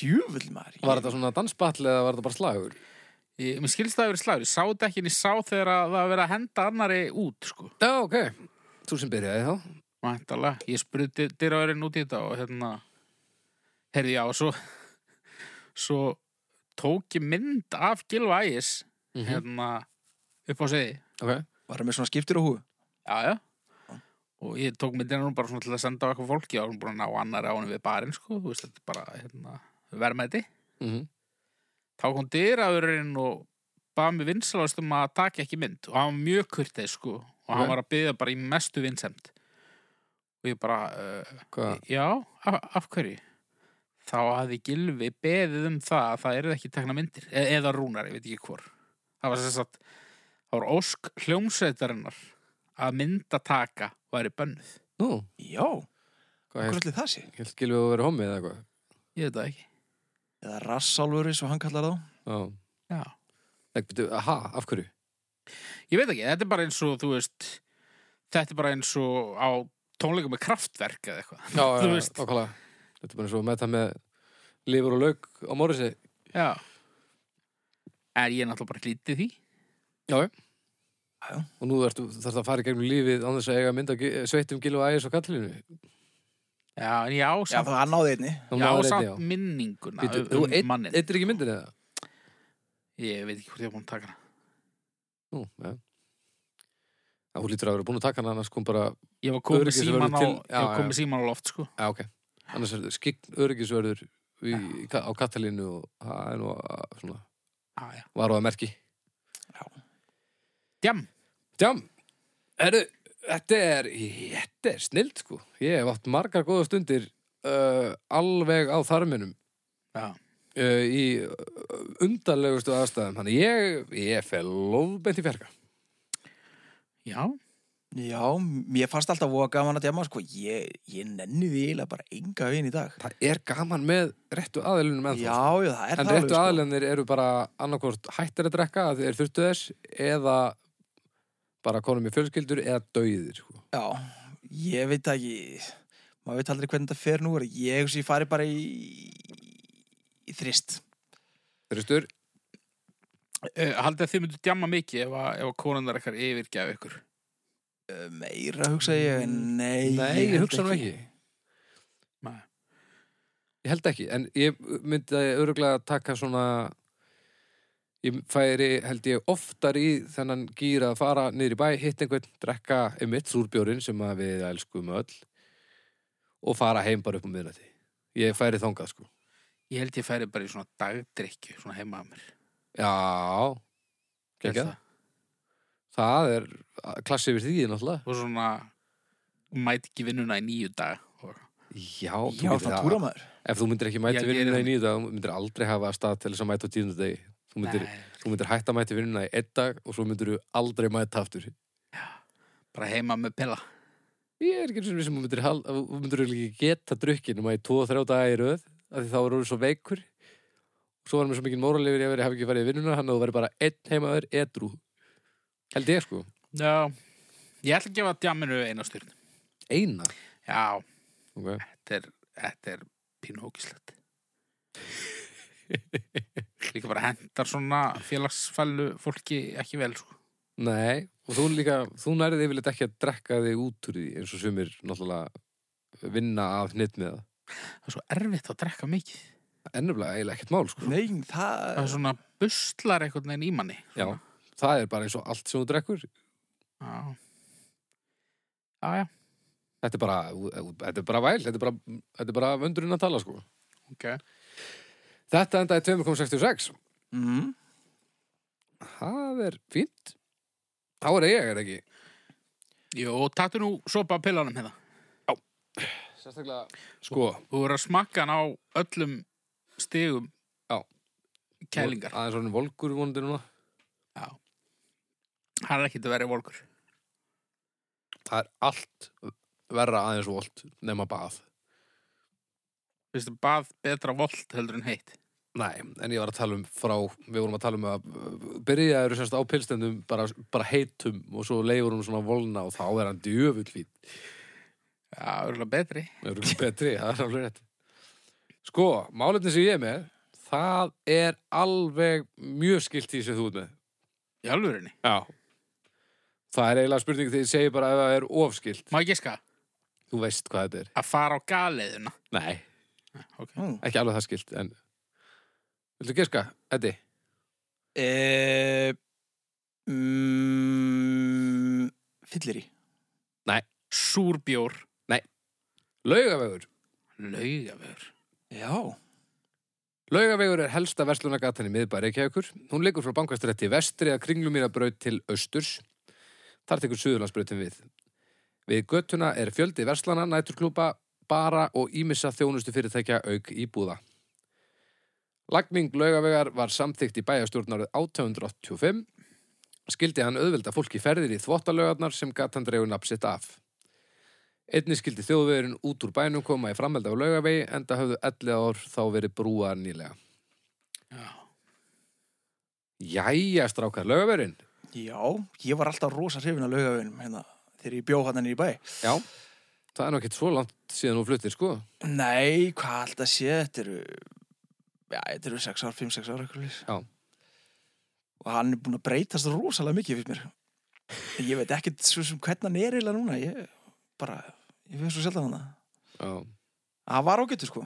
Speaker 3: djúvill maður. ég-
Speaker 2: var þetta svona danspall eða var þetta bara slagur?
Speaker 1: Ég, mér skilst það að vera slagur, ég sá þetta ekki en ég sá þegar að það var verið að henda annari út sko.
Speaker 2: Já, ok. Þú sem byrjaði þá.
Speaker 1: Væntalega, ég spurði dyrraverinn út í þetta og hérna, herði já, svo, svo tók ég mynd af Gilva Ægis,
Speaker 2: Mhm.
Speaker 1: hérna, upp á sviði.
Speaker 2: Ok.
Speaker 3: Var það með svona skiptir á húu?
Speaker 1: Já, já. Og ég tók myndina nú bara svona til að senda á eitthvað fólki og hún búin að ná annari á henni við barinn, sko, þú veist, þetta er bara, hérna, verðmæti.
Speaker 2: Mm
Speaker 1: Þá kom dyrraverinn og bað mig vinsalast um að taka ekki mynd og hann var mjög kurteið, sko, og hann
Speaker 2: Ok.
Speaker 1: var að byggja bara í mestu vinsemd. Og ég bara, uh,
Speaker 2: Hvað?
Speaker 1: Já, af, af hverju? Þá hafði Gilvi beðið um það að það eru ekki tekna myndir e eða rúnar, ég veit ekki hvor það var sess að það var ósk hljómsveitarinnar að myndataka væri bönnuð
Speaker 2: Nú,
Speaker 3: Já,
Speaker 2: hvað
Speaker 3: hvað
Speaker 2: held,
Speaker 3: ætli það sé?
Speaker 2: held gilvið að vera homið eða eitthvað?
Speaker 1: ég veit það ekki
Speaker 3: Eða rassálfur, svo hann kallar þá.
Speaker 2: Já.
Speaker 1: Já.
Speaker 2: Nei, betur, aha, af hverju?
Speaker 1: ég veit ekki, þetta er bara eins og þú veist þetta er bara eins og á tónleikum með kraftverk eða eitthvað
Speaker 2: Já,
Speaker 1: Þú veist.
Speaker 2: Okkala. Þetta er bara svo að metta með lifur og lauk á morrisi.
Speaker 1: Já er ég er náttúrulega bara lítið því
Speaker 2: Og nú ertu, þarf það að fara í gegnum lífið án þess að eiga mynda sveitt um gilvið ægis og kallinu.
Speaker 1: Já, en ég á
Speaker 3: Já,
Speaker 1: samt,
Speaker 3: það hann náði einni.
Speaker 1: ég á samt minninguna
Speaker 2: Býtu, þú
Speaker 1: um, um mannin
Speaker 2: Eittir ekki myndin eða?
Speaker 1: ég veit ekki hvort ég er búin að taka hana
Speaker 2: Nú, já. Já, Hún lítur að vera búin að taka hana, annars kom bara,
Speaker 1: Ég var komið
Speaker 2: Öryggisvörður
Speaker 1: síman á,
Speaker 2: til-
Speaker 1: ég var
Speaker 2: já,
Speaker 1: komið
Speaker 2: já.
Speaker 1: síman á loft sko
Speaker 2: já, ok. Annars er skikn öryggisverður í, ka- á Katalínu og það er nú að, svona,
Speaker 1: ah, já.
Speaker 2: var á að merki.
Speaker 1: Djam,
Speaker 2: Jam, herru, þetta er, þetta er snild sko. Ég hef átt margar góða stundir uh, alveg á þarminum
Speaker 1: Já.
Speaker 2: uh, í uh, undarlegustu aðstæðum. Þannig ég, ég fel lofbent í fjarka.
Speaker 1: já,
Speaker 3: Já, mér fannst alltaf voða gaman að djama, sko. Ég, ég nenni því eiginlega bara enga veginn í dag.
Speaker 2: Það er gaman með réttu aðlunum ennþá. sko.
Speaker 3: Já, já, það er
Speaker 2: En
Speaker 3: það
Speaker 2: réttu aðlunir eru bara annarkvort hættir að drekka að þeir þurftu þess eða bara konum í fjölskyldur eða dauðir. Sko.
Speaker 3: Já, ég veit það ekki, maður veit aldrei hvernig þetta fer nú, er. ég hugsa ég fari bara í, í þrist.
Speaker 2: Þurftur,
Speaker 1: uh, haldið að þið myndu djamma mikið ef að, ef að konundar ekkar yfirgæfi ykkur
Speaker 3: Uh, Meira hugsa ég, en nei.
Speaker 2: nei, ég
Speaker 3: held
Speaker 2: hugsa nú ekki.
Speaker 1: Nei.
Speaker 2: Ég held ekki, en ég myndi að öruglega taka svona ég færi, held ég, oftar í þennan gýr að fara niður í bæ, hitt einhvern, drekka einmitt súrbjórin sem að við elskum öll og fara heim bara upp á miðnætti. Ég færi þangað, sko.
Speaker 1: Ég held ég færi bara í svona dagdrykju, svona heima að mér
Speaker 2: Já,
Speaker 1: Held
Speaker 2: Gekkað.
Speaker 1: það.
Speaker 2: það er klassi yfir því, náttúrulega.
Speaker 1: Og svona mæti ekki vinnuna í nýju dag og,
Speaker 2: Já, þú
Speaker 3: Já,
Speaker 2: getur
Speaker 3: það túra maður.
Speaker 2: Ef þú myndir ekki
Speaker 1: Ég hérna.
Speaker 2: mæti
Speaker 1: geri
Speaker 2: vinnuna
Speaker 1: það.
Speaker 2: í nýju dag, þú myndir aldrei hafa stað til þess að mæta á tíðundu degi. Þú myndir,
Speaker 1: Nei,
Speaker 2: þú myndir hætta að mæta vinnuna í einn dag og svo myndir þú aldrei mæta aftur.
Speaker 1: bara heima með pilla
Speaker 2: Ég er ekki eins og við sem þú myndir, hal- um að þú myndir örugglega ekki geta drukkin um að í 2-3 daga í röð af því þá er orðið svo veikur svo var mér svo mikið móralegur ef ég hef ekki farið í vinnuna hann að þú verið bara einn heimaður edru held ég sko,
Speaker 1: Já, ég ætla að gefa djamminu eina styrn
Speaker 2: eina
Speaker 1: Já,
Speaker 2: okay.
Speaker 1: þetta er, þetta er pínu hókislegt Líka þetta bara hendar svona félagsfælu fólki ekki vel sko.
Speaker 2: Nei, og þú líka, þú nærið yfirleitt ekki að drekka þig út úr því eins og sumir náttúrulega vinna af hnitt með það.
Speaker 1: það er svo erfitt að drekka mikið
Speaker 2: Ennumlega eiginlega ekkert mál, sko.
Speaker 3: Nei,
Speaker 1: það
Speaker 3: það
Speaker 1: er svona buslar einhvern veginn í manni
Speaker 2: Já, það er bara eins og allt sem þú drekkur.
Speaker 1: já, já, já
Speaker 2: Þetta er bara, þetta er bara væl, þetta er bara, þetta er bara vöndurinn að tala, sko.
Speaker 1: ok
Speaker 2: Þetta endaði 2.66.
Speaker 3: mm,
Speaker 2: Það er fínt. Þá er ég, er ekki.
Speaker 1: Jú, taktu nú sopa af pillanum hérna
Speaker 2: Sérstaklega, sko,
Speaker 1: Þú verður að smakka hann á öllum stigum
Speaker 2: Já.
Speaker 1: Kælingar
Speaker 2: Aðeins orðin volgur vonandi núna.
Speaker 1: Hann er ekkert að vera volkur
Speaker 2: Það er allt verra aðeins volt nema bað.
Speaker 1: Vistu, bað betra volt heldur en heitt
Speaker 2: Nei, en ég var að tala um frá, við vorum að tala um að byrjaður semst á pilstendum bara, bara heitum og svo leifur hún svona volna og þá er hann djöfullvít.
Speaker 1: Já, örgulega betri
Speaker 2: Það eru betri, það er alveg rétt. Sko, málefni sem ég er með, það er alveg mjög skilt í sem þú ert með.
Speaker 1: Í alvörinni
Speaker 2: Já. Það er eiginlega spurning þegar ég segi bara ef það er ofskilt.
Speaker 1: Má ég giska
Speaker 2: Þú veist hvað þetta er.
Speaker 1: að fara á galeiðuna
Speaker 2: Nei,
Speaker 1: Ok
Speaker 3: mm.
Speaker 2: ekki alveg það skilt, en... Viltu geska, Eddi?
Speaker 3: E, mm, Fyllir í
Speaker 1: Súrbjór
Speaker 2: Laugavegur.
Speaker 1: Laugavör
Speaker 3: Já
Speaker 2: Laugavegur er helsta verslunagatan í miðbæ Reykjavíkur. Hún liggur frá bankastrætti vestri að kringlumýrabraut til austurs. Þar tekur Suðurlandsbrautin við. Við göttuna er fjöldi verslana, næturklúpa, bara og ímissa þjónustu fyrirtækja auk íbúða. Lagning Laugavegar var samþykkt í bæjastjórnarið 1885. Skildi hann auðvelda fólki ferðir í þvottalaugarnar sem gatan dreigur nafn sitt af. Einni skildi þjóðvegurinn út úr bænum koma í framheld af laugavegi enda höfðu 11 ár þá verið brúar nýlega.
Speaker 1: Já
Speaker 2: Jæja, strákar, laugavegurinn.
Speaker 3: Já, ég var alltaf rosa hrifin að laugaveginum hérna þegar ég bjó hann í bæ
Speaker 2: Já, það er nú ekkert svo langt síðan hún fluttir, sko.
Speaker 3: Nei, hvað alltaf sé, þetta eru Já, þetta eru 6 ár, 5-6 ár eitthvað leys.
Speaker 2: Já.
Speaker 3: Og hann er búin að breytast rosalega mikið fyrir mér En Ég veit ekkert svo sem hvernig hann er eiginlega núna Ég bara, ég finn svo sjaldan hann
Speaker 2: Já.
Speaker 3: Hann var ágættur sko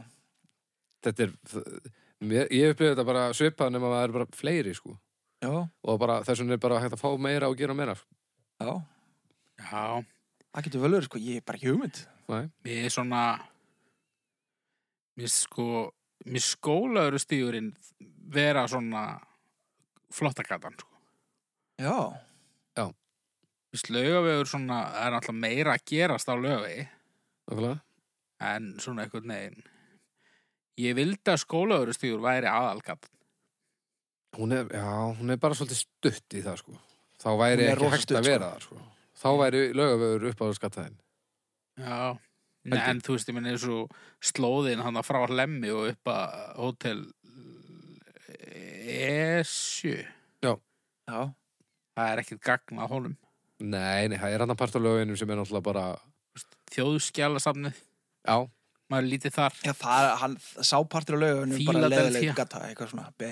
Speaker 2: Þetta er, það- mér, ég upplifði þetta bara svipað nema að það er bara fleiri, sko.
Speaker 3: Já,
Speaker 2: Og bara, þess vegna er bara hægt að fá meira og gera meira. sko.
Speaker 3: já
Speaker 1: Já
Speaker 3: Það getur vel verið sko, ég er bara ekki hugmynd
Speaker 2: Nei,
Speaker 1: Mér er svona Mér sko Mér skólaður stíðurinn vera svona flottakatan sko
Speaker 3: Já,
Speaker 1: Vist, laugavegur svona, það er alltaf meira að gerast á laugavegi
Speaker 2: okkurlega.
Speaker 1: en svona einhvern veginn ég vildi að skólaugurustýr væri aðalgat
Speaker 2: Hún er, já, hún er bara svolítið stutt í það, sko. Þá væri
Speaker 3: Hún er
Speaker 2: ekki
Speaker 3: rosa
Speaker 2: hægt
Speaker 3: stutt,
Speaker 2: að vera það, sko. Þá væri laugavegur upp á skattaðin.
Speaker 1: já Nei,
Speaker 2: Heldur.
Speaker 1: en þú veist, ég minn eins og slóðin hann frá Lemmi og upp að hótel Esju
Speaker 3: já,
Speaker 1: það er ekkert gagn að honum
Speaker 2: Nei, nei, það er hann að parta laugaveginum sem er náttúrulega bara,
Speaker 1: þjóðskjálasafnið,
Speaker 2: já,
Speaker 1: maður lítið þar
Speaker 3: já það, hann sápartur á laugaveginum bara
Speaker 1: Fíladelfía.
Speaker 3: leðileg gata eitthvað svona be.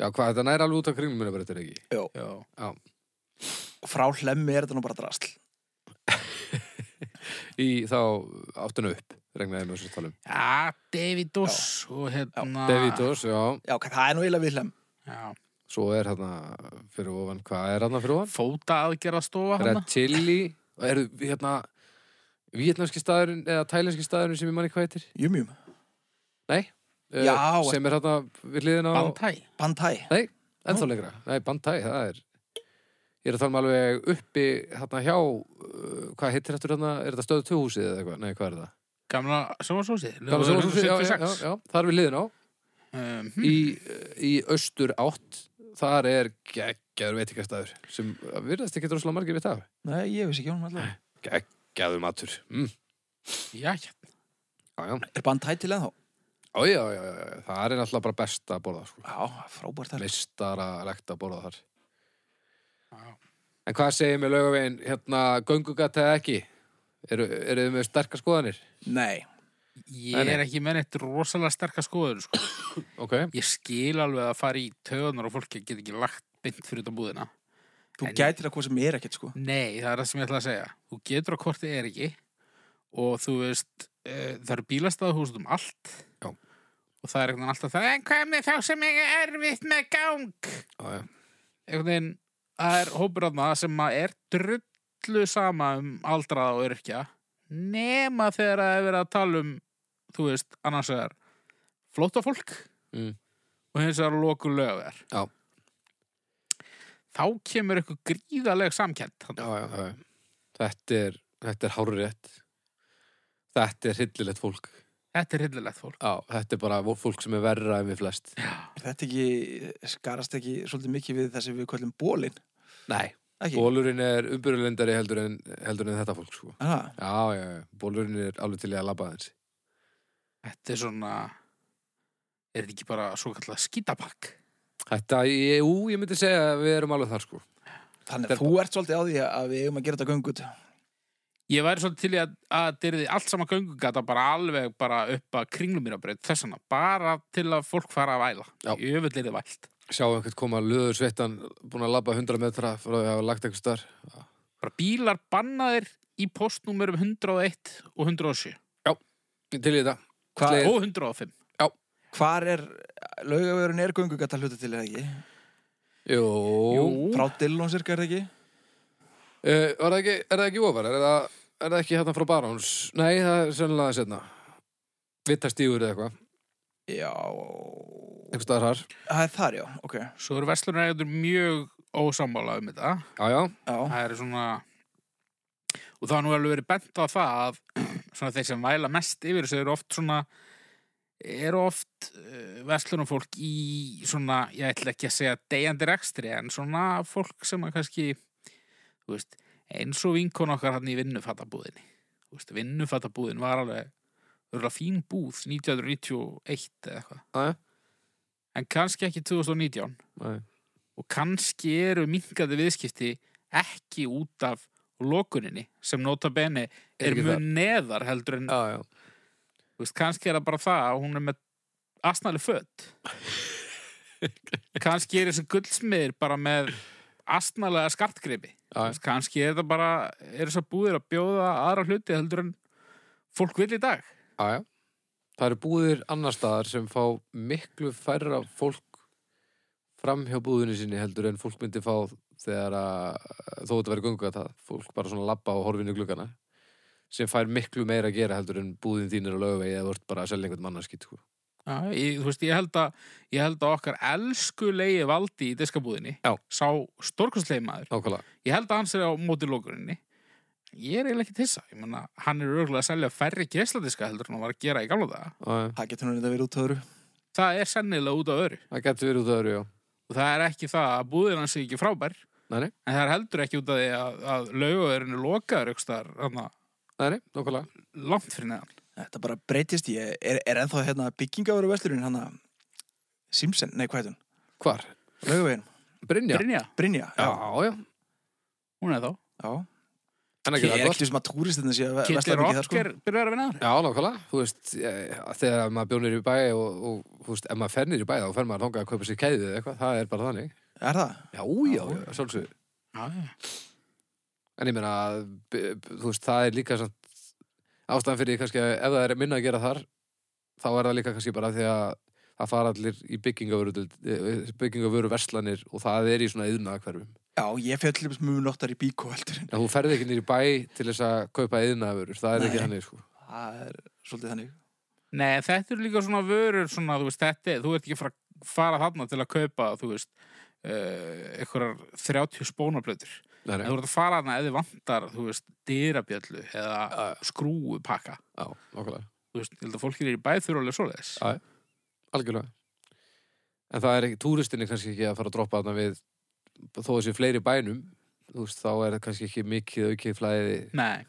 Speaker 2: Já, hvað, þetta næri alveg út á kringlum minna bara þetta er ekki.
Speaker 1: já,
Speaker 3: Frá hlemmi er þetta nú bara drasl
Speaker 2: Í þá áttinu upp, regnaði með þessu talum.
Speaker 1: já David Doss og hérna
Speaker 3: Ah.
Speaker 2: David Ós, já,
Speaker 3: Já, hvað- það er nú eiginlega við hlemm
Speaker 1: já,
Speaker 2: svo er hérna fyrir ofan, hvað er hérna fyrir ofan?
Speaker 1: fóta aðgerðastofa hann
Speaker 2: Red Chili, og eru hérna vietnamski staðurinn eða tælenski staðurinn sem ég manni hvað heitir?
Speaker 3: Jum, jum,
Speaker 2: Nei, eh,
Speaker 3: Já,
Speaker 2: sem er hérna við hliðin á,
Speaker 1: bandhæ
Speaker 3: bandhæ
Speaker 2: ennþá lengra. Nei, Bandai, það er, ég er að tala um alveg uppi hérna hjá, uh, hvað heitir eftir hérna, er þetta stöðu tjóhúsið eða eitthvað? Nei, hvað er það?
Speaker 1: gamla sjónvarsósið
Speaker 2: Gamla sjónvarpshúsið, já, já, já, já, það er við hliðin á.
Speaker 1: Um,
Speaker 2: í, í austur átt þar er geggjaður veitingastæður sem virðast ekki droslega margir við það
Speaker 3: Nei, ég veist ekki hún allavega
Speaker 2: geggjaður matur mm.
Speaker 1: já, já,
Speaker 2: já, já.
Speaker 3: Er bandhæ til ennþá?
Speaker 2: Ó, já, já, já, já, það er náttúrulega bara best að borða sko.
Speaker 3: Já, frábært þar
Speaker 2: mistaralegt að borða þar
Speaker 1: já.
Speaker 2: en hvað segir mér laugavegin hérna, göngugat eða ekki eru, eru þið með sterkar skoðanir
Speaker 3: Nei,
Speaker 1: Ég
Speaker 2: Nei, nei.
Speaker 1: er ekki með neitt rosalega sterkar skoður, sko.
Speaker 2: Ok,
Speaker 1: Ég skil alveg að fara í töðunar og fólki að geta ekki lagt beint fyrir utan búðina.
Speaker 3: Þú
Speaker 1: En-
Speaker 3: gætir að hvað sem er ekkert sko
Speaker 1: Nei, það er það sem ég ætla að segja. Þú getur að hvort þið er ekki og þú veist, uh, það eru bílastæðu húsum um allt
Speaker 2: Já.
Speaker 1: og það er einhvern veginn alltaf það, en hvað með þá sem ég er erfitt með gang?
Speaker 2: já, já.
Speaker 1: Einhvern veginn, það er hópur af það sem að er drullu sama um aldraða og örkja nema þegar það er verið að tala um, þú veist, annars vegar flóta fólk
Speaker 2: Mm.
Speaker 1: og hins vegar loku lögver.
Speaker 2: Já.
Speaker 1: Þá kemur eitthvað gríðaleg samkend.
Speaker 2: Já, já, já, já. Þetta er, þetta er hárétt. Þetta er hryllilegt fólk.
Speaker 1: Þetta er hillilegt fólk.
Speaker 2: Já, þetta er bara vo- fólk sem er verra en við flest.
Speaker 3: Er þetta ekki, skarast ekki svolítið mikið við það sem við kvöldum bólin
Speaker 2: Nei.
Speaker 3: Ekki?
Speaker 2: Bólurinn er umbyrjulendari heldur en, heldur en þetta fólk, sko.
Speaker 3: Aha,
Speaker 2: Já, já, já. Bólurinn er alveg til í að labba þessi.
Speaker 1: Þetta er svona Er þetta ekki bara svo kallað skítapakk?
Speaker 2: Þetta, ég, ú, ég myndi segja að við erum alveg þar, sko. Þetta
Speaker 3: Þannig
Speaker 2: er
Speaker 3: að þú ert svolítið á því að við eigum að gera þetta göngut
Speaker 1: Ég væri svolítið til í að, að þetta er allt sama göngugata bara alveg bara upp að kringlum mér að breyta þessana, bara til að fólk fara að væla.
Speaker 2: Já.
Speaker 1: Jöfull er þið vælt.
Speaker 2: Sjá einhvern koma löður sveittan, búin að labba 100 metra frá því að hafa lagt eitthvað starf.
Speaker 1: Bara bílar bannaðir í postnúmerum 101 og 107
Speaker 2: Til í þetta.
Speaker 3: Hva-
Speaker 2: Ætli-
Speaker 1: og 105.
Speaker 3: Hvar er, laugavörun er göngugat að hluta til eða ekki?
Speaker 2: Jú.
Speaker 3: Frá Dillon cirka er það ekki?
Speaker 2: Uh, er, það ekki, er það ekki ofar? Er það, er það ekki hérna frá Baróns? Nei, það er sennilega setna. Vittar stígur eða eitthvað.
Speaker 3: Já
Speaker 2: Eitthvað staðar þar.
Speaker 3: Það er þar já, ok
Speaker 1: Svo eru verslunarægjandur mjög ósammála um þetta.
Speaker 2: Já, já.
Speaker 3: Já,
Speaker 1: Það er svona og það har nú alveg verið bent á það að svona þeir sem væla mest yfir þessu eru oft svona eru oft uh, verslunarfólk í svona, ég ætla ekki að segja deyjandi rekstri, en svona fólk sem að kannski, þú veist eins og vinkon okkar hann í vinnufattabúðinni þú veist, vinnufattabúðin var alveg örgulega fín búð 1991 eða eitthvað
Speaker 2: Já, já.
Speaker 1: en kannski ekki 2019
Speaker 2: Nei.
Speaker 1: og kannski eru minkandi viðskipti ekki út af lokuninni sem nota bene
Speaker 2: Er
Speaker 1: er
Speaker 2: ekki
Speaker 1: mjög
Speaker 2: þar.
Speaker 1: neðar heldur en
Speaker 2: Já, já.
Speaker 1: þú veist, kannski er það bara það að hún er með asnali fött kannski er þessi guldsmiður bara með asnalega skartgripi
Speaker 2: Já,
Speaker 1: Þú veist, kannski er það bara er þess búðir að bjóða aðra hluti heldur en fólk vil í dag
Speaker 2: já, já. Það eru búðir annar staðar sem fá miklu færra fólk fram hjá búðinu sinni heldur en fólk myndi fá þegar að þó þetta verið gungu að það fólk bara svona labba og horfinu gluggana sem fær miklu meira að gera heldur en búðin þín er að lögvegi eða vort bara að selja einhvern mannarskýt sko.
Speaker 1: Já, ég, þú veist, ég held að, ég held að okkar elskulegi valdi í diskabúðinni
Speaker 2: Já.
Speaker 1: sá stórkostlegi maður
Speaker 2: Nákvæmlega.
Speaker 1: Ég held að hans er á móti lókuninni. Ég er eiginlega ekki tissa. Ég meina, hann er örgulega að selja færri greisladiska heldur en hann var að gera í gamla daga.
Speaker 2: Já, já.
Speaker 3: það getur nú reynda verið út á öðru
Speaker 1: Það er sennilega út af öru.
Speaker 2: Það getur verið út að öru, já.
Speaker 1: Og það er ekki það að búðin hans er ekki frábær.
Speaker 2: Nei, nei.
Speaker 1: En það er heldur ekki út af því að, að laugavörun er lokaður aukstar
Speaker 2: Nei, nei, nákvæmlega.
Speaker 1: langt fyrir neðan.
Speaker 3: Þetta bara breytist, ég er, er ennþá hérna byggingavöru vesturinn hann að Simpson, nei hvað heit hún?
Speaker 2: Hvar?
Speaker 3: Laugavegin,
Speaker 2: Brynja?
Speaker 1: Brynja,
Speaker 3: Brynja
Speaker 2: Já, já.
Speaker 1: hún er þá.
Speaker 3: já.
Speaker 2: En
Speaker 3: Ég
Speaker 2: ekki
Speaker 3: er
Speaker 2: það
Speaker 3: ekki
Speaker 2: gott.
Speaker 3: sem að túristinni sé að
Speaker 1: Kitty
Speaker 3: vesla mikið þar sko
Speaker 1: Rocker byrjar að vinna þar.
Speaker 2: Já, nákvæmlega. Þú veist, eh, þegar maður bjónir í bæ og, og þú veist, ef maður fer niður í bæ þá fer maður þangað að kaupa sér kæðið eða eitthvað. Það er bara þannig.
Speaker 3: Er það?
Speaker 2: Já, já, já, sjálfsögur.
Speaker 1: Já, já.
Speaker 2: En ég meina, b- b- þú veist, það er líka samt ástæðan fyrir því kannski að ef það er minna að gera þar, þá er það líka kannski bara því að það fara allir í byggingavöru, byggingavöru verslanir og það er í svona yðnaðakverfum.
Speaker 3: Já, ég fjöll lífis mjög nottar í bíkó heldur en
Speaker 2: En þú ferði ekki niður í bæ til þess að kaupa yðnaðavörur. Það er ekki
Speaker 3: Nei.
Speaker 2: þannig, sko.
Speaker 3: það er svolítið þannig
Speaker 1: Nei, þetta eru líka svona vörur svona, þú veist, þetta, þú ert ekki að fara, fara þarna til að kaupa, þú veist, uh, einhverjar 30 spónablöður.
Speaker 2: Nei, nei.
Speaker 1: En þú ert að fara hana ef þið vantar, þú veist, dyrabjöllu eða
Speaker 2: Já,
Speaker 1: skrúupakka.
Speaker 2: Já, nákvæmlega.
Speaker 1: Þú veist, ég held að fólki er í bæð þurfa alveg svoleiðis.
Speaker 2: Já. Algjörlega. En það er ekki, túristin er kannski ekki að fara að droppa þarna við, þó þessi fleiri bænum, þú veist, þá er það kannski ekki mikið aukið flæði.
Speaker 1: Nei,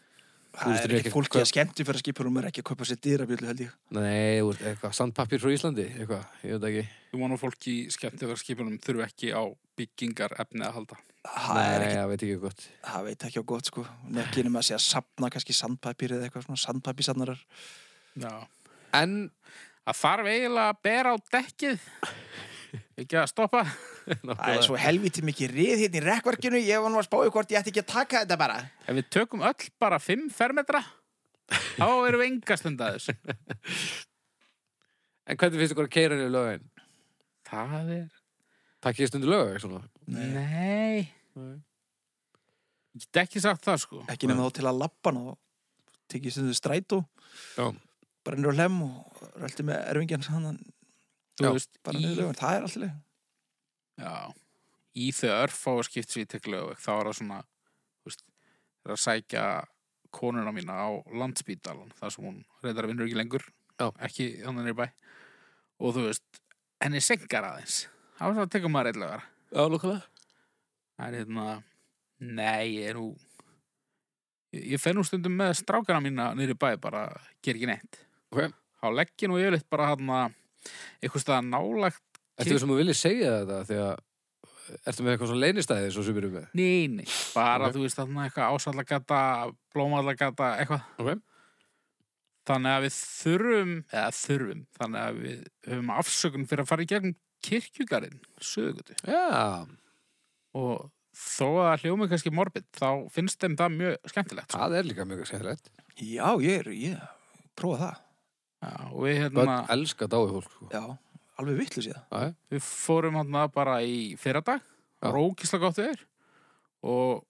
Speaker 3: Það
Speaker 2: Túristar
Speaker 3: er
Speaker 2: eru
Speaker 3: ekki
Speaker 2: ekki
Speaker 3: fólki
Speaker 2: kaup-
Speaker 3: að skemmti fyrir að skipa hún er ekki að kaupa sér dýrabjöldu held ég
Speaker 2: Nei, þú veist, eitthvað, sandpapir frá Íslandi, eitthvað, ég veit ekki.
Speaker 1: þú vonum fólki í skemmtifæðarskipunum þurfa ekki á byggingar efni að halda.
Speaker 3: Það er
Speaker 2: Nei,
Speaker 3: ekki,
Speaker 2: ég veit ekki gott.
Speaker 3: það veit ekki á gott sko Nei, ekki nema að sé að sapna kannski sandpapir eða eitthvað svona sandpapisannarar
Speaker 1: Já.
Speaker 2: En,
Speaker 1: Það þarf eiginlega að bera á dekkið. Ekki að stoppa.
Speaker 3: Það er svo helviti mikið rið hérna í rekverkinu, ég var nú að spáði hvort ég ætti ekki að taka þetta bara.
Speaker 1: Ef við tökum öll bara 5 fermetra, þá erum við engastund að þessu.
Speaker 2: en hvernig finnst ykkur að keira niður lögin?
Speaker 1: Það er...
Speaker 2: Takk ég stundu lög, ekki svona?
Speaker 3: Nei.
Speaker 1: Nei.
Speaker 2: Nei.
Speaker 1: Ég get ekki sagt það, sko.
Speaker 3: Ekki nema þá til að lappa hann og tekið sem þau strætó,
Speaker 2: Já.
Speaker 3: bara niður á hlem og röldi með erfingjan hann
Speaker 1: Þú
Speaker 2: Já,
Speaker 1: veist,
Speaker 3: bara
Speaker 1: í...
Speaker 3: niður lögur. Það er alltaf leið.
Speaker 1: Já. Í þau örfá að skipt sér í teklögu, þá er það svona, þú veist, það er að sækja konuna mína á landsbítalan, þar sem hún reyndar að vinna ekki lengur,
Speaker 2: Já.
Speaker 1: ekki þannig nýr bæ. Og þú veist, henni sengar aðeins. Það var svo að teka maður eitthvað.
Speaker 2: Já, lókulega.
Speaker 1: Það er hérna, nei, ég er nú, ég, ég fer nú stundum með strákana mína nýr í bæ, bara ger ekki neitt.
Speaker 2: Ok.
Speaker 1: Þá legg ég nú yfirleitt bara hann að, eitthvað staða nálagt,
Speaker 2: Ertu sem að vilja segja þetta þegar ertu með eitthvað svo leynistæði svo sem við erum með?
Speaker 1: Nei, nei, bara
Speaker 2: Ok.
Speaker 1: þú veist þarna eitthvað ásallagata, blómallagata, eitthvað.
Speaker 2: Ok.
Speaker 1: Þannig að við þurfum, eða þurfum, þannig að við höfum afsökun fyrir að fara í gegnum kirkjugarinn, sögutu.
Speaker 2: Já,
Speaker 1: Og þó að það hljómi kannski morbid, þá finnst þeim það mjög skemmtilegt. Sko.
Speaker 2: það er líka mjög skemmtilegt.
Speaker 3: Já, ég er, ég prófa það.
Speaker 1: Já, og við,
Speaker 2: Bönn
Speaker 1: hérna,
Speaker 2: elska dái fólk, sko.
Speaker 3: Já, alveg vittlu síðan.
Speaker 2: Já, já.
Speaker 1: við fórum hérna bara í fyrradag,
Speaker 2: Já.
Speaker 1: rókisla gott við er. Og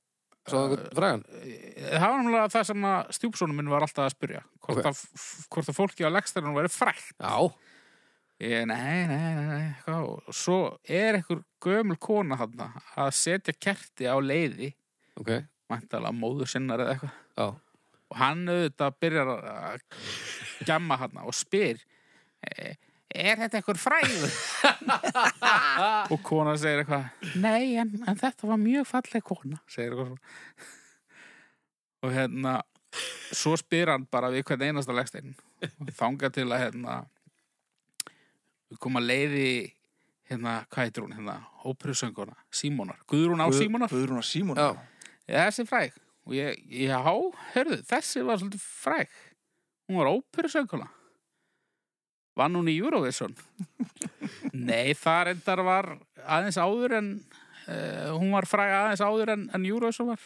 Speaker 2: Svo það er frægan.
Speaker 1: Eh, það var náttúrulega það sem að stjúpsónum minn var alltaf að spyrja. Hvort,
Speaker 2: Ok.
Speaker 1: að, hvort að fólki á leggstæðinu væri frækt.
Speaker 2: Já,
Speaker 1: Ég, nei, nei, nei, nei, hvað, og svo er einhver gömul kona þarna að setja kerti á leiði,
Speaker 2: ok.
Speaker 1: mæntalega móður sinnar eða eitthvað,
Speaker 2: Já,
Speaker 1: og hann auðvitað byrjar að- að gjamma þarna og spyr, eh, er þetta einhver fræður? og kona segir eitthvað, nei, en, en þetta var mjög falleg kona, segir eitthvað svona. og hérna, svo spyr hann bara við hvern einasta legsteinn, þanga til að hérna, við komum að leiði hérna, hvað heitir hún, hérna, ópröðsönguna Símonar, Guðrún á Símonar
Speaker 3: Guðrún á Símónar.
Speaker 2: já.
Speaker 1: ja, þessi er fræg og ég, já, hörðu, þessi var svolítið fræg hún var ópröðsönguna vann hún í Eurovision nei, það reyndar var aðeins áður en uh, hún var fræg aðeins áður en, en Eurovision var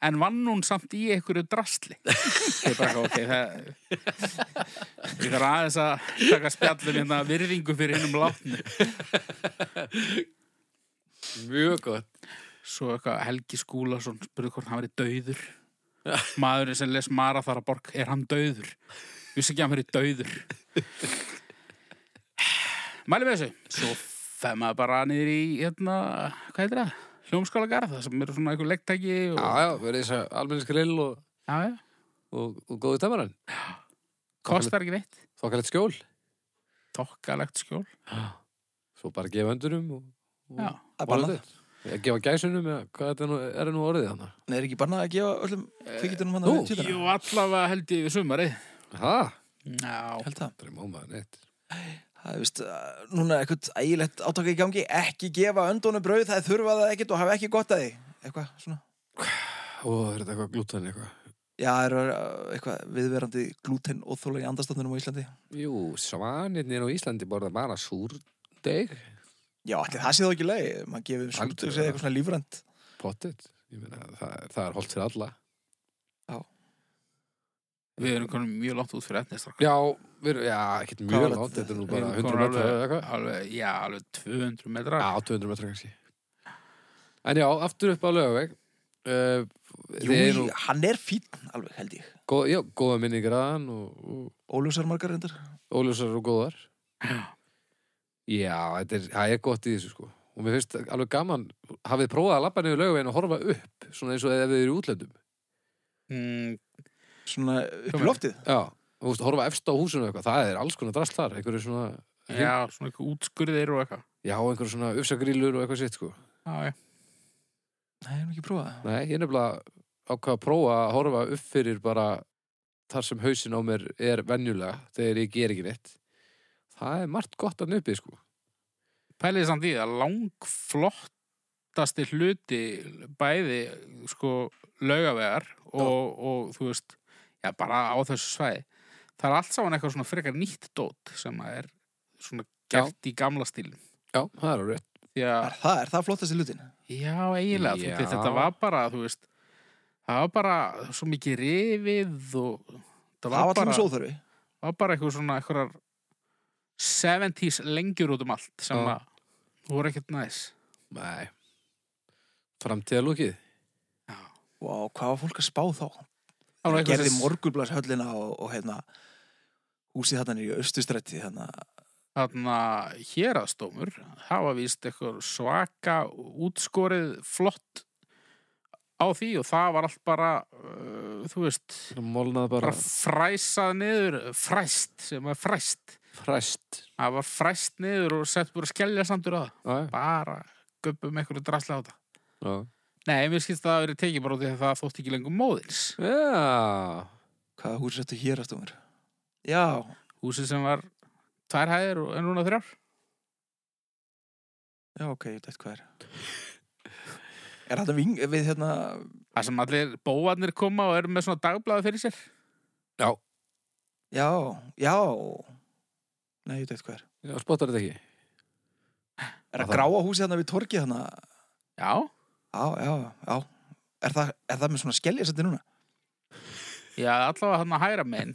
Speaker 1: en vann hún samt í einhverju drastli ég bara, ok, það ég þarf aðeins að taka spjallum hérna virðingu fyrir hinnum látnu
Speaker 2: Mjög gott.
Speaker 1: Svo eitthvað Helgi Skúlason spurði hvort hann væri dauður. Maðurinn sem les Mara þar að borg, er hann dauður? Vissi ekki að hann verið dauður. Mælum við þessu. Svo fer maður bara niður í, hérna, hvað heitir það? Hljómskála garða sem eru svona einhver legtæki og...
Speaker 2: Já, já, verið þess að almenniski grill og,
Speaker 1: Já, já.
Speaker 2: og, og góðu tæmaran.
Speaker 1: Kostar ekki neitt.
Speaker 2: Þokkalegt skjól.
Speaker 1: Tokkalegt skjól.
Speaker 2: Svo bara gefa öndurum og... og
Speaker 1: Já.
Speaker 3: Það er
Speaker 2: og
Speaker 3: bannað.
Speaker 2: þetta. Ég gefa gæsunum eða hvað þetta nú, er nú orðið hann?
Speaker 3: Nei, er ekki bannað að gefa öllum kvikitunum hann
Speaker 2: nú,
Speaker 3: að við
Speaker 1: Jú, allavega held ég við sumarið.
Speaker 2: Hæ?
Speaker 1: Já.
Speaker 3: Held það.
Speaker 2: Það er mámaður neitt.
Speaker 3: Það er vist, uh, núna eitthvað ægilegt átaka í gangi, ekki gefa öndunum brauð, það er þurfa það ekkert og hafa ekki gott að því. Eitthvað svona.
Speaker 2: Ó, er þetta eitthvað glútan eitthvað?
Speaker 3: Já, það eru uh, eitthvað viðverandi glúten óþóla í andastofnunum á Íslandi.
Speaker 2: Jú, svanirnir á Íslandi borða bara súrdeg.
Speaker 3: Já, allir það sé þá ekki leið, maður gefið um
Speaker 2: Aldrei,
Speaker 3: svolítið og segja
Speaker 2: ja.
Speaker 3: eitthvað svona lífrænt.
Speaker 2: Pottet. Ég meina, það, það er holdt fyrir alla.
Speaker 1: Við erum konum mjög langt út fyrir etnist.
Speaker 2: Já, við, já, ekkert
Speaker 3: Hvað
Speaker 2: mjög
Speaker 3: var
Speaker 2: látt.
Speaker 3: þetta?
Speaker 2: Þetta er nú
Speaker 1: Við
Speaker 2: bara
Speaker 1: erum
Speaker 2: 100
Speaker 1: komin
Speaker 2: metra eða eitthvað.
Speaker 1: Alveg, já, alveg 200 metrar.
Speaker 2: Já, 200 metra kannski. En já, aftur upp á lögaveg. Uh,
Speaker 3: Jú,
Speaker 2: þið eru nú
Speaker 3: hann er fín, alveg held ég.
Speaker 2: góð, já, góða minningar að hann og,
Speaker 3: Óljósar margar reyndar.
Speaker 2: og óljósar og góðar.
Speaker 1: Já.
Speaker 2: Já, þetta er, það er gott í þessu sko. Og mér finnst alveg gaman, hafið prófað að labba niður lögavegin og horfa upp, svona eins og ef þið eru í útlöndum.
Speaker 1: Mm,
Speaker 3: Svona upp
Speaker 1: Komið.
Speaker 3: í loftið.
Speaker 2: Já, þú veist, horfa efst á húsinu og eitthvað, það er alls konar drast þar, einhverju svona,
Speaker 1: já, svona eitthvað útskurðir og eitthvað.
Speaker 2: já, einhverju svona ufsagrýlur og eitthvað sitt sko.
Speaker 1: Já, já.
Speaker 3: Nei, ég hef nú ekki prófað það.
Speaker 2: Nei, ég er nefnilega ákvað að prófa að horfa upp fyrir bara þar sem hausin á mér er venjulega þegar ég ger ekki neitt. Það er margt gott að nöpið, sko.
Speaker 1: Pæliði samt í að langflottasti hluti bæði sko laugavegar og, og þú veist, já bara á þessu svæði það er allt saman eitthvað svona frekar nýtt dót sem að er svona gert í gamla stílum.
Speaker 2: Já, það er alveg rétt.
Speaker 1: Því að,
Speaker 3: Er það, er það flottast í lutin?
Speaker 1: já, eiginlega, þú veit,
Speaker 2: Já.
Speaker 1: þetta var bara, þú veist, það var bara svo mikið rifið og það
Speaker 3: Það
Speaker 1: var
Speaker 3: var
Speaker 1: bara,
Speaker 3: allir sóþörfi.
Speaker 1: var bara eitthvað svona eitthvað 70s lengjur út um allt sem
Speaker 2: Já.
Speaker 1: að voru ekkert næs.
Speaker 2: Nei. Framtíðalókið.
Speaker 1: Já.
Speaker 3: Vá, hvað var fólk að spá þá?
Speaker 1: Það var eitthvað
Speaker 3: Gerði
Speaker 1: sem,
Speaker 3: morgunblas höllina og, og hérna, húsið þarna niður í hérna. austustrætti, þannig að
Speaker 1: þarna, hérastómur, hafa víst eitthvað svaka, útskorið, flott á því og það var allt bara, uh, þú veist,
Speaker 2: Mólnað bara
Speaker 1: bara fræsað niður, fræst, sem var fræst.
Speaker 2: fræst.
Speaker 1: Það var fræst niður og sett bara skellja samtur að það.
Speaker 2: Já,
Speaker 1: Bara gubbum eitthvað drasla á þetta.
Speaker 2: já.
Speaker 1: Nei, mér skilst að það hafi verið tekið bara út í að það þótt ekki lengur móðins.
Speaker 2: Já.
Speaker 3: hvaða húsið þetta hér aftur mér? Já,
Speaker 1: Húsið sem var tvær hæðir og en núna þrjár.
Speaker 3: já, ok, ég veit hvað er. Er þetta ving, við hérna,
Speaker 1: Það sem allir bóarnir koma og eru með svona dagblæði fyrir sér.
Speaker 2: Já,
Speaker 3: já, já, nei, ég veit hvað er.
Speaker 2: já spottar þetta ekki.
Speaker 3: Er
Speaker 2: Að
Speaker 3: það
Speaker 2: það-
Speaker 3: gráa húsið þarna við torkið þarna?
Speaker 1: Já,
Speaker 3: Já, já, já. Er það, er það með svona skelljasandi núna?
Speaker 1: já, allavega hann að hæra minn.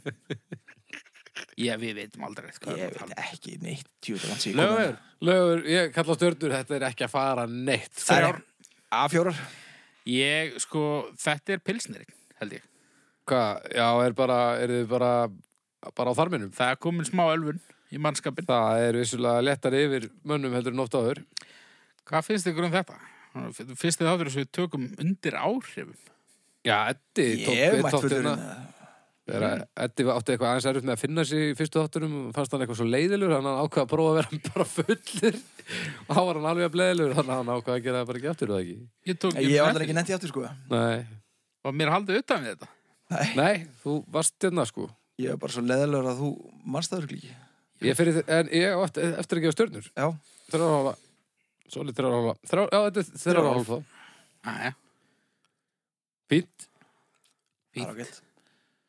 Speaker 1: Já, við veitum aldrei sko. hvað
Speaker 3: Ég veit
Speaker 1: það.
Speaker 3: ekki neitt, tjóta langt síðan.
Speaker 1: Lögur,
Speaker 2: Lögur, ég kalla stjörnur, þetta er ekki að fara neitt.
Speaker 3: Það er
Speaker 1: Þrjár.
Speaker 3: A4.
Speaker 1: ég, sko, þetta er pilsnirinn, held ég.
Speaker 2: Hvað, já, er bara, er þið bara, bara á þarminum?
Speaker 1: Það er komin smá ölfun í mannskapin.
Speaker 2: Það er vissulega lettar yfir mönnum heldur en oft áður.
Speaker 1: Hvað finnst ykkur um þetta? Fyrst þið þáttur þess að við tökum undir áhrifum.
Speaker 2: Já, Eddi
Speaker 3: Ég
Speaker 2: tók-
Speaker 3: hef
Speaker 2: tók
Speaker 3: mætt fullur
Speaker 2: hérna-
Speaker 3: hérna.
Speaker 2: Þegar að Eddi átti eitthvað aðeins erfitt með að finna sig í fyrstu þáttunum og fannst hann eitthvað svo leiðilur hann ákvað að prófa að vera bara fullur og þá var hann alveg að bleiðilur þannig að hann ákvað að gera það bara ekki aftur er það ekki
Speaker 1: Ég tók
Speaker 3: Ég hef aldrei ekki nefnt í aftur sko.
Speaker 2: Nei,
Speaker 1: Og mér haldið utan við þetta.
Speaker 3: Nei,
Speaker 2: Nei þú varst hérna sko
Speaker 3: ég er bara svo leðilegur að þú manst það örugglega ekki.
Speaker 2: ég fyrir, þér- En ég átt eftir að gefa stjörnur
Speaker 3: Já,
Speaker 2: Þrjára hálfa Svolít þrjára hálfa Þrjá, Já, þetta er
Speaker 3: Þrjár
Speaker 2: þrjára
Speaker 3: og
Speaker 2: hálfa
Speaker 1: Æja,
Speaker 2: Fínt
Speaker 3: það er
Speaker 1: Fínt.
Speaker 3: ágætt.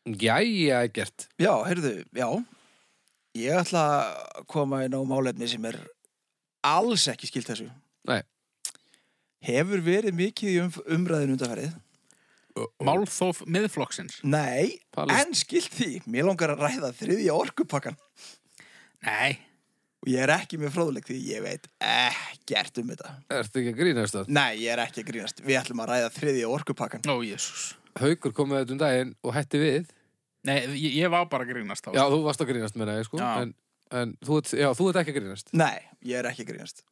Speaker 2: Jæja, gert
Speaker 3: Já, heyrðu, já. Ég ætla að koma inn á málefni sem er alls ekki skilt þessu.
Speaker 2: Nei.
Speaker 3: Hefur verið mikið í um, umræðinu undanferðið?
Speaker 1: málþóf miðflokksins.
Speaker 3: Nei,
Speaker 2: Palest-
Speaker 3: en skilt því. Mér langar að ræða þriðja orkupakkan.
Speaker 1: Nei,
Speaker 3: Og ég er ekki með fróðleik því ég veit ekkert um þetta.
Speaker 2: Ertu ekki að grínast það?
Speaker 3: Nei, ég er ekki að grínast. Við ætlum að ræða þriðja orkupakkan.
Speaker 1: ó, jésús.
Speaker 2: Haukur kom með þetta um daginn og hætti við
Speaker 1: Nei, ég, ég var bara að grínast á.
Speaker 2: Já, þú varst að grínast með það, sko
Speaker 1: Já.
Speaker 2: En, en þú, ert- já, þú ert ekki að grínast
Speaker 3: Nei, ég er ekki að grínast.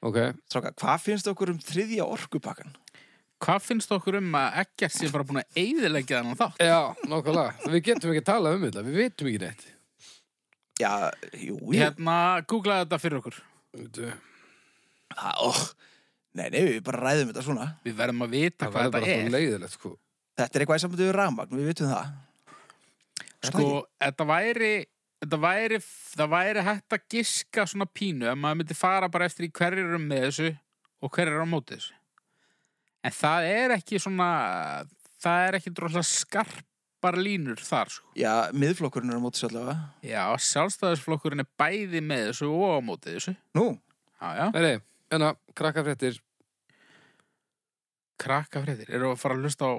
Speaker 2: Ok,
Speaker 3: Stráka, hvað finnst okkur um þriðja orkupakkan?
Speaker 1: Hvað finnst okkur um að ekkert sé bara búin að eyðilegja þannig þátt?
Speaker 2: Já, nákvæmlega. Við getum ekki að tala um þetta, við veitum ekki neitt.
Speaker 3: Já, jú, jú.
Speaker 1: Hérna, googlaði þetta fyrir okkur.
Speaker 3: Það, ó, nei, nei, við bara ræðum þetta svona.
Speaker 1: Við verðum að vita
Speaker 2: Það
Speaker 1: hvað
Speaker 2: er bara
Speaker 1: þetta
Speaker 2: svo
Speaker 1: er.
Speaker 2: leiðilegt, sko.
Speaker 3: Þetta er eitthvað sem við rafmagn, við vitum það. Er það
Speaker 1: Sko, þetta væri, þetta væri, það væri hægt að giska svona pínu ef maður myndi fara bara eftir í hverjir eru með þessu og hverjir eru á móti þessu. En það er ekki svona, það er ekki droslega skarpar línur þar, sko.
Speaker 3: ekki? Já, miðflokkurinn er á móti svo allavega.
Speaker 1: Já, sjálfstæðisflokkurinn er bæði með þessu og á móti þessu.
Speaker 3: Nú,
Speaker 1: Já, já.
Speaker 2: Nei, nei, en að krakkafréttir,
Speaker 1: Krakkafréttir, eru að fara að hlusta á,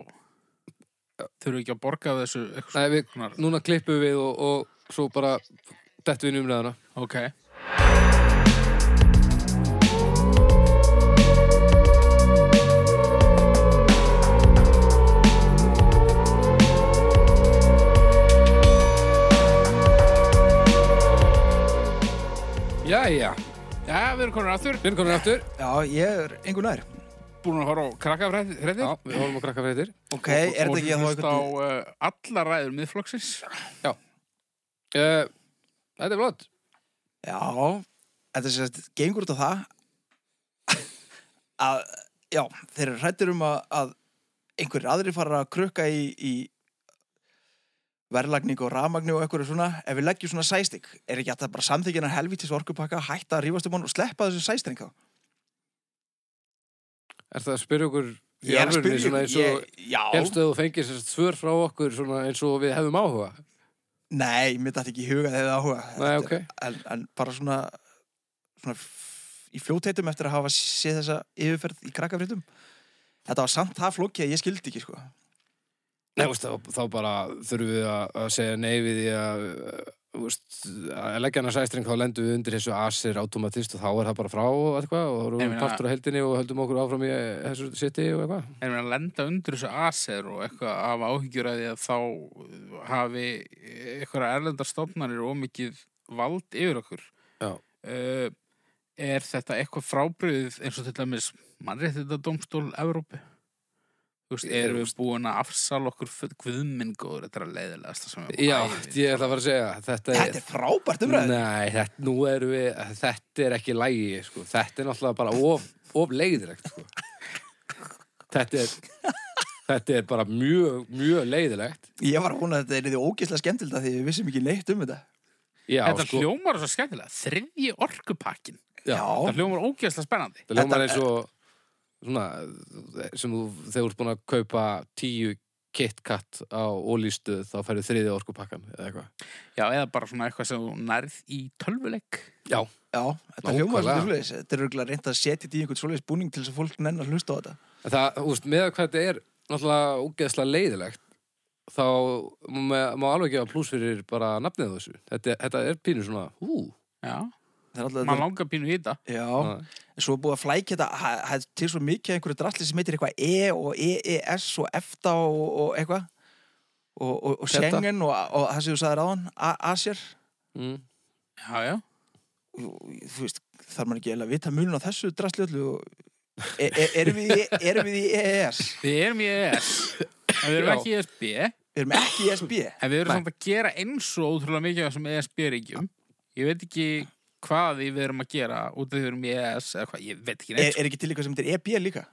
Speaker 1: þurfum ekki að borga af þessu eitthvað
Speaker 2: nei, við,
Speaker 1: svona.
Speaker 2: núna klippum við og, og svo bara dettum við inn í umræðuna.
Speaker 1: Ok.
Speaker 2: Jæja,
Speaker 1: Já, við erum konar aftur,
Speaker 2: við erum komin aftur.
Speaker 3: já, ég er einhver nær.
Speaker 1: búin að horfa á krakkafréttir.
Speaker 2: Já, við horfum á krakkafréttir.
Speaker 3: Ok, er þetta ekki að þá
Speaker 1: Og hlusta á
Speaker 3: eitthvað...
Speaker 1: uh, alla ræður miðflokksins.
Speaker 2: Uh, þetta er flott.
Speaker 3: Já, þetta er sérst, gengur út á það að, já, þeir eru hrættir um að, að einhverjir aðrir fara að krukka í, í verðlagningu og rafmagni og eitthvað svona, ef við leggjum svona sæstik, er ekki hægt að bara samþykja hennar helvítis orkupakka, hætta að rífast um hann og sleppa þessu sæstring þá?
Speaker 2: Er það að spyrja okkur í
Speaker 3: Ég er að
Speaker 2: alvörunni
Speaker 3: spyrja
Speaker 2: svona
Speaker 3: ykkur,
Speaker 2: eins og...
Speaker 3: ég, já,
Speaker 2: Helstu að þú fengir sérst svör frá okkur svona eins og við hefum áhuga.
Speaker 3: Nei, mér dætti ekki í huga þegar það áhuga
Speaker 2: Nei, ok.
Speaker 3: en, en bara svona, svona f- í fljótheitum eftir að hafa séð þessa yfirferð í krakkafréttum Þetta var samt það flókið að ég skildi ekki sko.
Speaker 2: Nei, veist, þá, þá bara þurfum við að, að segja nei við því að, uh, veist, að leggja hann að sæstring þá lendum við undir þessu asir automatist og þá er það bara frá og eitthvað og þá
Speaker 1: Ég
Speaker 2: erum
Speaker 1: meina-
Speaker 2: við partur á heldinni og höldum okkur áfram í eh, þessu seti og eitthvað.
Speaker 1: er mér að lenda undir þessu aser og eitthvað af áhyggjur að því að þá uh, hafi eitthvað erlendar stofnanir og mikið vald yfir okkur
Speaker 2: Já.
Speaker 1: uh, er þetta eitthvað frábriðið eins og til dæmis mannréttita dómstól Evrópi Þú veist,
Speaker 2: Ég-
Speaker 1: erum við búin að afsala okkur guðminn góður, þetta er að leiðilegast sem við
Speaker 2: Já,
Speaker 1: bæði við.
Speaker 2: ég ætla að fara að segja, þetta
Speaker 3: Þetta er frábært umræðið
Speaker 2: Nei, þetta, nú erum við, þetta er ekki lægi, sko. Þetta er náttúrulega bara of, of leiðilegt, sko. Þetta er, þetta er bara mjög, mjög leiðilegt.
Speaker 3: Ég var hún að þetta er því ógeðslega skemmtild að því við vissum ekki neitt um þetta
Speaker 2: Já,
Speaker 1: Þetta
Speaker 2: sko,
Speaker 1: hljómar svo skemmtilega, þriðji orkupakkin
Speaker 2: Já.
Speaker 1: Þetta hljómar ógeðslega spennandi
Speaker 2: það ljómar eins og, svona, sem þú, þegar þú ert búin að kaupa tíu KitKat á ólýstuð, þá færðu þriðið orkupakkan eða eitthvað.
Speaker 1: Já, eða bara svona eitthvað sem þú nærð í tölvuleik
Speaker 2: Já,
Speaker 3: Já, þetta
Speaker 2: Nákvæmlega.
Speaker 3: hljómaður svolítið svoleiðis Þetta er örugglega reynt að setja þetta í einhvern svoleiðis búning til þess að fólk nenn að hlusta á þetta
Speaker 2: það, þú veist, með hvað þetta er náttúrulega ógeðslega leiðilegt þá má, má alveg gefa pluss fyrir bara nafnið á þessu þetta, þetta er pínu svona, hú
Speaker 1: Já,
Speaker 3: Það er alltaf
Speaker 1: maður langar pínu í þetta
Speaker 3: Já, en svo er búið að flækja þetta ha- ha- til svo mikið af einhverju drastli sem heitir eitthvað E og EES og EFTA og, og eitthvað og, og, og
Speaker 2: Þetta.
Speaker 3: Schengen og, og það sem þú sagðir áðan A- Asir
Speaker 2: mm.
Speaker 1: Já, já
Speaker 3: Og- og þú veist, þarf maður ekki eiginlega að vita munun á þessu drastli öllu og e, e, erum, við, í- erum við í E EES
Speaker 1: Við erum í ES En við erum
Speaker 2: Já.
Speaker 1: ekki í E ESB En
Speaker 3: við erum ekki í E ESB
Speaker 1: við erum
Speaker 2: Nei.
Speaker 1: samt að gera eins og ótrúlega mikið af þessum ESB-ríkjum Ég veit ekki hvað við erum að gera út af því við erum í ES eða hvað, ég veit ekki
Speaker 3: er,
Speaker 2: E-
Speaker 1: neitt
Speaker 3: er ekki til eitthvað sem heitir EB líka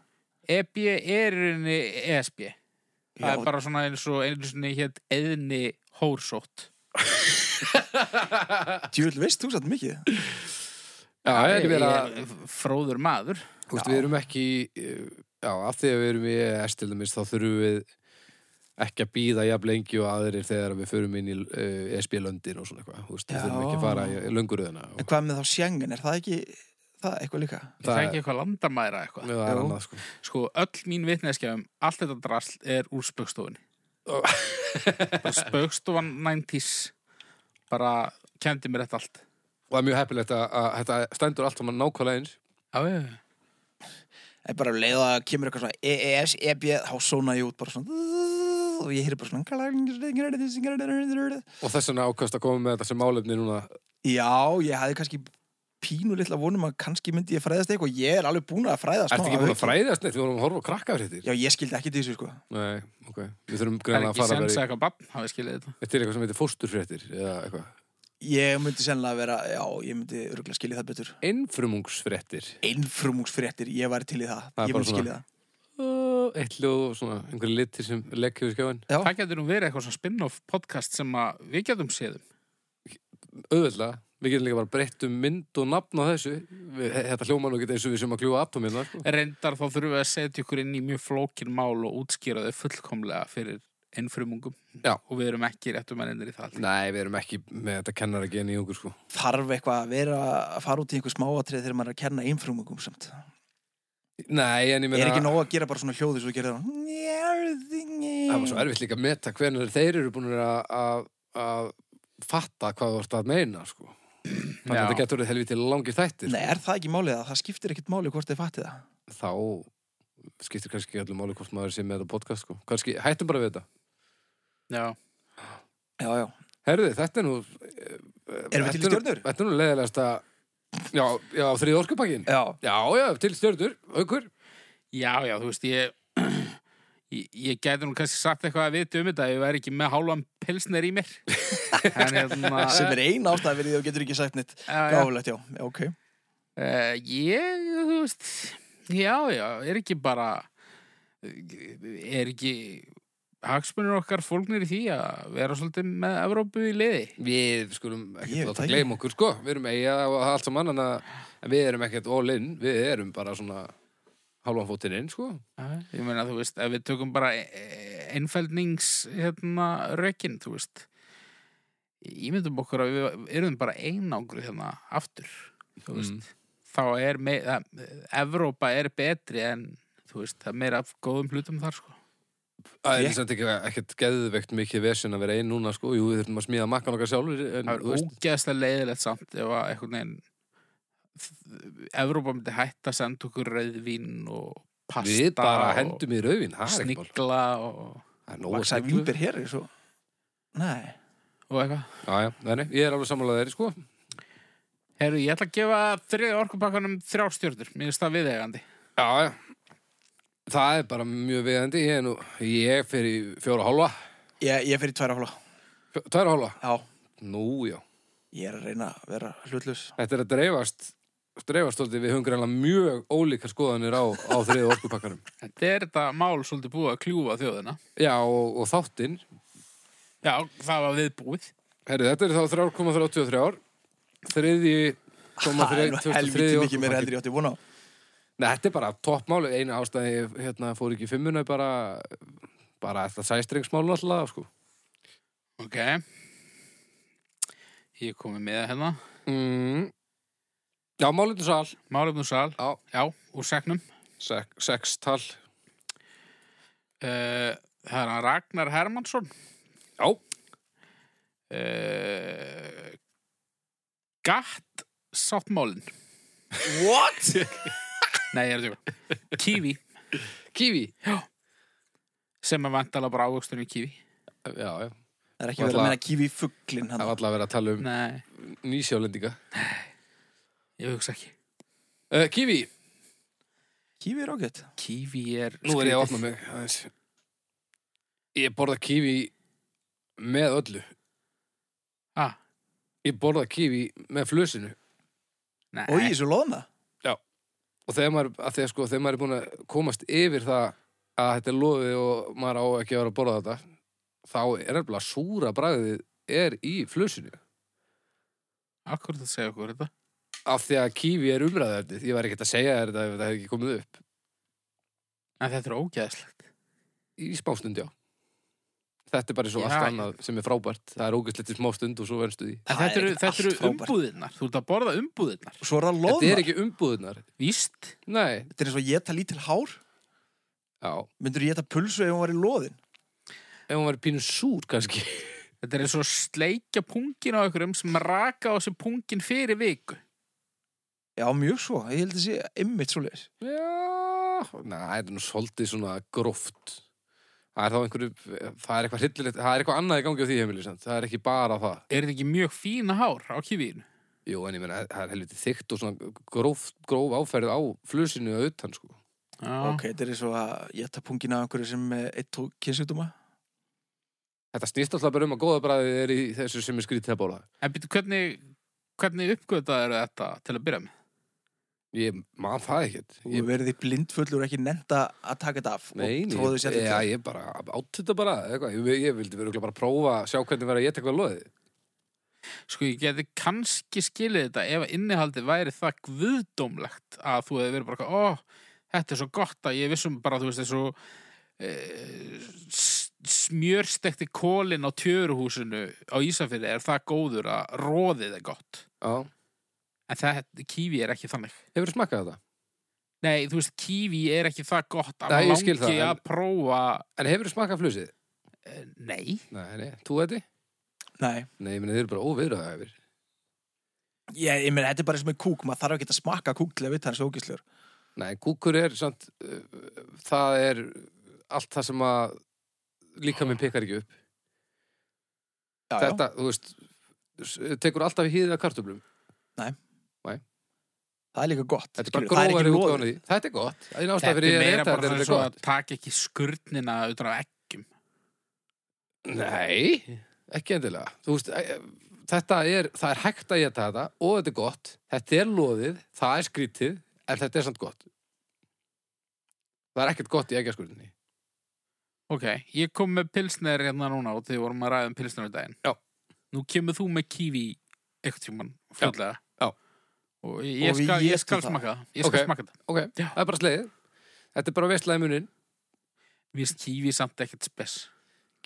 Speaker 1: EB er í rauninni ESB Það
Speaker 3: Já,
Speaker 1: er bara svona eins og einu sinni hétt eðni hórsótt
Speaker 3: djúvel veist þú satt mikið
Speaker 2: Já, ég er verið að
Speaker 1: Ég er Fróður maður
Speaker 2: þú veist, við erum ekki eh, já, af því að við erum í ES til dæmis þá þurfum við ekki að býða jafn lengi og aðrir þegar við förum inn í uh, ESB-löndin og svona eitthvað þú veist, við
Speaker 3: Já.
Speaker 2: þurfum ekki að fara í lönguröðina
Speaker 3: en
Speaker 2: og
Speaker 3: hvað með þá Schengen, er það ekki það eitthvað líka
Speaker 1: Það, það er ekki eitthvað landamæra eitthvað
Speaker 2: það er
Speaker 3: Jú.
Speaker 2: annað sko
Speaker 1: Sko, öll mín vitneskja um allt þetta drasl er úr spöggstofunni.
Speaker 2: Ó.
Speaker 1: bara spöggstofan 90s bara kendi mér þetta allt.
Speaker 2: og það er mjög heppilegt að, að þetta stendur allt saman nákvæmlega eins
Speaker 1: Já, já, já.
Speaker 3: Það er bara um leið og það kemur eitthvað svona E EES, EB, þá sóna ég út bara svona og ég heyri bara svona
Speaker 2: og þess vegna ákast að koma með þetta sem málefni núna
Speaker 3: Já, ég hafði kannski pínu litla vonum að kannski myndi ég fræðast eitthvað og ég er alveg búin að fræðast
Speaker 2: Ertu
Speaker 3: smá
Speaker 2: ekki
Speaker 3: að
Speaker 2: búin að
Speaker 3: auki.
Speaker 2: fræðast neitt? Við vorum að horfa á krakkafréttir
Speaker 3: Já, ég skildi ekki til þessu sko
Speaker 2: Nei, ok Við þurfum
Speaker 1: Það er
Speaker 2: greina að
Speaker 1: ekki
Speaker 2: fara að
Speaker 1: sens að
Speaker 2: vera
Speaker 1: eitthvað bann, hafi skilið þetta.
Speaker 2: í- til eitthvað sem heitir fósturfréttir eða eitthvað
Speaker 3: Ég myndi sennilega vera, já, ég myndi örgulega skilja það betur
Speaker 2: Einfrumungsfréttir
Speaker 3: Einfrumungsfréttir, ég væri til í það,
Speaker 2: Það er
Speaker 3: ég
Speaker 2: bara
Speaker 3: myndi
Speaker 2: svona-
Speaker 3: skilja það
Speaker 2: Ó, Eitt ljóð og svona einhverju litir sem legg hefur skjáin
Speaker 3: Já,
Speaker 1: Það getur nú verið eitthvað svona spin-off podcast sem að við um. getum séðum.
Speaker 2: Auðvitað Við getum líka bara breytt um mynd og nafn á þessu við, Þetta hljóman og geta eins og við sem að kljúa atomina sko.
Speaker 1: Reyndar þá þurfum við að setja ykkur inn í mjög flókin mál og útskýra þau fullkomlega fyrir innfrumungum.
Speaker 2: Já.
Speaker 1: Og við erum ekki réttum ennir í það. allt.
Speaker 2: Nei, við erum ekki með þetta kennara í okkur sko.
Speaker 3: þarf eitthvað að vera að fara út í einhver smáatrið þegar maður er að kenna einfrumungum samt
Speaker 2: Nei, en ég
Speaker 3: Er
Speaker 2: meina
Speaker 3: ekki nóg að gera bara svona hljóði svo gerir það
Speaker 2: Það var svo erfitt líka að meta hvernig þeir eru búin að, að, að fatta hvað þú ert að meina sko. Þannig að
Speaker 1: Já.
Speaker 2: þetta getur verið helviti langir þættir
Speaker 3: Nei, er það ekki málið að það skiptir ekkert máli hvort þið fatti það?
Speaker 2: þá skiptir kannski allir máli hvort maður sé með þetta podcast sko. kannski hættum bara við þetta
Speaker 1: Já.
Speaker 3: Já, já.
Speaker 2: Herðu, þetta er nú eh,
Speaker 3: Erum við til í stjörnur?
Speaker 2: Þetta er nú leðilegasta Já, já þrið orkupakkin
Speaker 3: Já.
Speaker 2: Já, já, til í stjörnur, aukur
Speaker 1: Já, já, þú veist, ég, ég, ég gæti nú kannski sagt eitthvað að vita um þetta ef ég væri ekki með hálfan pilsner í mér. en hérna...
Speaker 3: Sem er eina ástæða verið þú getur ekki sagt neitt.
Speaker 1: já, já.
Speaker 3: Gáfulegt, já. Já, ok.
Speaker 1: Uh, ég, þú veist, já, já, er ekki bara, er ekki hagsmunir okkar fólknir í því að vera svolítið með Evrópu í liði?
Speaker 2: Við skulum
Speaker 3: Ég
Speaker 2: ekkert
Speaker 3: veit
Speaker 2: láta
Speaker 3: ekki.
Speaker 2: gleyma okkur sko Við erum eiga og allt saman en að- en við erum ekkert all in Við erum bara svona hálfan fótinn inn sko
Speaker 1: Ég meina, þú veist, ef við e, tökum bara einfældnings, hérna, rökin, þú veist, ímyndum okkur að við erum bara einangru hérna aftur þú veist,
Speaker 2: Mm.
Speaker 1: þá er mei- það, Evrópa er betri en þú veist, það er meira af góðum hlutum þar sko.
Speaker 2: Það
Speaker 3: Ég-
Speaker 2: er samt ekki ekkert geðveikt mikið vesinn að vera einn núna sko, jú, við þurfum að smíða makkan okkar sjálfur en,
Speaker 1: það er
Speaker 2: þú veist,
Speaker 1: ógeðslega leiðilegt samt ef að einhvern veginn Evrópa myndi hætta að senda okkur rauðvín og pasta
Speaker 2: við bara
Speaker 1: og
Speaker 2: hendum í raufin, það er ekki mál
Speaker 1: snigla og,
Speaker 2: Það er nóg að
Speaker 3: Vaksaði
Speaker 2: sniglu.
Speaker 3: vínber hér er svo Nei,
Speaker 1: og eitthvað
Speaker 2: Já, já, nei, nei, ég er alveg sammálaðið þeirri sko
Speaker 1: Herru, ég ætla að gefa þriði orkupakkanum þrjá stjórnur, mér finnst það viðegandi
Speaker 2: Já, já Það er bara mjög viðandi, ég er nú ég fyrir fjóra og hálfa
Speaker 3: ég, ég fyrir tværa hóla
Speaker 2: fjó- tværa og hálfa,
Speaker 3: Já,
Speaker 2: nú já
Speaker 3: ég er að reyna að vera hlutlaus
Speaker 2: Þetta er að dreifast dreifast stóldið, við höfum greinlega mjög ólíkar skoðanir á, á þriðu orkupakkanum
Speaker 1: Þetta er þetta mál svolítið búið að kljúfa þjóðina
Speaker 2: Já, og, og þáttinn
Speaker 1: Já, það var viðbúið
Speaker 2: Herri, þetta er þá 3,33 þriði
Speaker 3: Það er nú helviti mikið meira heldur ég átti vona á
Speaker 2: Nei, þetta er bara toppmáli, eina ástæði ég, hérna, fór ekki í fimmuna er bara, bara þetta sæstrengsmál alltaf, sko
Speaker 1: Ok Ég er komið með það hérna
Speaker 2: mm. Já, málinu sal
Speaker 1: Málefnum sal,
Speaker 2: Já,
Speaker 1: já, úr segnum
Speaker 2: sex, sex tal
Speaker 1: uh, Það er hann Ragnar Hermansson
Speaker 2: Já,
Speaker 1: uh, Gatt sáttmálin
Speaker 3: What?
Speaker 1: Nei, ég er að tjóka Kiwi,
Speaker 2: kiwi
Speaker 1: sem er vantala bara ávöxtunum kiwi
Speaker 2: Já, já,
Speaker 3: Það er ekki verið að meina kífi fugglin hann
Speaker 2: það var alltaf að vera að tala um
Speaker 1: Nei,
Speaker 2: nýsjálendinga
Speaker 1: ég hugsa ekki
Speaker 2: uh, Kiwi,
Speaker 3: Kífi er ágætt
Speaker 1: Kiwi er
Speaker 2: nú er ég
Speaker 1: skrítið.
Speaker 2: að opna mig aðeins. Ég borða kiwi með öllu
Speaker 1: ah,
Speaker 2: Ég borða kiwi með flösinu
Speaker 1: Nei,
Speaker 3: Og ég er svo loðna
Speaker 2: og þegar maður, að því að sko, þegar maður er búin að komast yfir það að þetta er lofið og maður á ekki að vera að borða þetta þá er nefnilega súra bragðið er í flösinu
Speaker 1: akkur það segja okkur þetta
Speaker 2: af því að kífi er umræðaefnið ég var ekkert að segja þér þetta ef þetta hefði ekki komið upp
Speaker 1: En þetta er ógeðslegt
Speaker 2: í smástund, já þetta er bara svo
Speaker 1: Já,
Speaker 2: allt
Speaker 1: já.
Speaker 2: annað sem er frábært það er ógæslegt í smástund og svo venstu því
Speaker 1: En
Speaker 3: Það
Speaker 1: þetta
Speaker 3: er
Speaker 1: eru,
Speaker 3: ekkert
Speaker 1: þetta eru
Speaker 3: allt frábært.
Speaker 1: umbúðirnar Þú ert að borða umbúðirnar
Speaker 3: Og svo er það
Speaker 2: þetta
Speaker 3: loðna
Speaker 2: er ekki umbúðunar
Speaker 1: Víst,
Speaker 2: nei,
Speaker 3: Þetta er eins og ég tala lítil hár
Speaker 2: já,
Speaker 3: Myndur ég geta pulsu ef hún var í loðin
Speaker 2: ef hún var pínu súr kannski
Speaker 1: þetta er eins og að sleikja pungin á einhverjum sem raka á sig pungin fyrir viku
Speaker 3: Já, mjög svo, ég held að sé ymmit svo leis
Speaker 2: Já, næ, það er nú svolítið svona gróft. Það er þá einhverju, það er eitthvað hryllilegt, það er eitthvað annað í gangi á því heimili, sant? það er ekki bara það.
Speaker 1: Er þetta ekki mjög fína hár á kivínu?
Speaker 2: Jú, en ég meina, það er helviti þykkt og svona gróft, gróf áferð á flusinu að utan, sko.
Speaker 1: Já,
Speaker 3: Ok, þetta er eins og að ég tala pungin af einhverju sem eh, er eitt og kynsugduma
Speaker 2: Þetta snýst alltaf bara um að góða bræðið er í þessu sem er skrítið að bóla.
Speaker 1: En byrju, hvernig, hvernig uppgötaður þetta til að byrja með?
Speaker 2: Ég man það ekkert.
Speaker 3: Þú
Speaker 2: Ég,
Speaker 3: verði blindfullur og ekki nenda að taka þetta af
Speaker 2: nei,
Speaker 3: og
Speaker 2: nei,
Speaker 3: tróðu sér
Speaker 2: ég,
Speaker 3: þetta
Speaker 2: ég, ég bara átt þetta bara, eitthvað. Ég, ég vildi vera bara að prófa að sjá hvernig verið að geta eitthvað loðið.
Speaker 1: Sko, ég geti kannski skilið þetta ef að innihaldið væri það guðdómlegt að þú hefði verið bara, eitthvað, ó, þetta er svo gott að ég vissum bara, þú veist, þessu e, smjörstekti kólin á tjöruhúsinu á Ísafirði er það góður að róðið er gott.
Speaker 2: Já,
Speaker 1: En það, kífi er ekki þannig.
Speaker 2: hefur smakkað þetta?
Speaker 1: Nei, þú veist, kífi er ekki það gott að
Speaker 2: Nei, ég
Speaker 1: maður
Speaker 2: skil
Speaker 1: langi
Speaker 2: það, en-
Speaker 1: að prófa,
Speaker 2: En hefur smakkað flusið?
Speaker 1: e, nei,
Speaker 2: Nei, nei, þú þetta?
Speaker 3: Nei,
Speaker 2: Nei, ég meina, þeir eru bara óviðraðið
Speaker 3: ég, ég meina, þetta er bara eins og með kúk maður þarf ekki að smakka kúk til að vita hans ógislur
Speaker 2: Nei, kúkur er samt, uh, það er allt það sem að líka minn pekar ekki upp.
Speaker 3: Já,
Speaker 2: Þetta, þú veist, s- tekur alltaf í hýðið af kartöflum.
Speaker 3: já, það er líka gott
Speaker 2: Þetta er bara
Speaker 3: skilur, það
Speaker 2: gróðari
Speaker 3: ekki
Speaker 2: útgáðan
Speaker 3: loðið.
Speaker 2: því. Þetta er gott. Það er
Speaker 1: þetta
Speaker 2: nástað
Speaker 1: er
Speaker 2: fyrir ég
Speaker 1: meira
Speaker 2: að þetta,
Speaker 1: bara
Speaker 2: þetta er
Speaker 1: þannig
Speaker 2: þetta
Speaker 1: svo að
Speaker 2: gott.
Speaker 1: taka ekki skurnina utan af eggjum.
Speaker 2: Nei, ekki endilega. Þú veist, æ, þetta er, það er hægt að geta þetta og þetta er gott. Þetta er loðið, það er skrítið, en þetta er samt gott. Það er ekkert gott í eggjaskurðinni.
Speaker 1: Ok, ég kom með pilsner hérna núna og þið vorum að ræða um pilsner um daginn.
Speaker 2: Já.
Speaker 1: Nú kemur þú með kiwi eitthvað tímann fljóðlega.
Speaker 2: Já.
Speaker 1: Og ég
Speaker 3: Og við
Speaker 1: skal, ég
Speaker 3: étum
Speaker 1: skal
Speaker 3: það.
Speaker 1: smaka það. Ég skal
Speaker 2: Ok.
Speaker 1: smaka það.
Speaker 2: Ok,
Speaker 1: Já.
Speaker 2: það er bara slegið. Þetta er bara veistlega í munin.
Speaker 1: Mér finnst kiwi samt ekkert spes.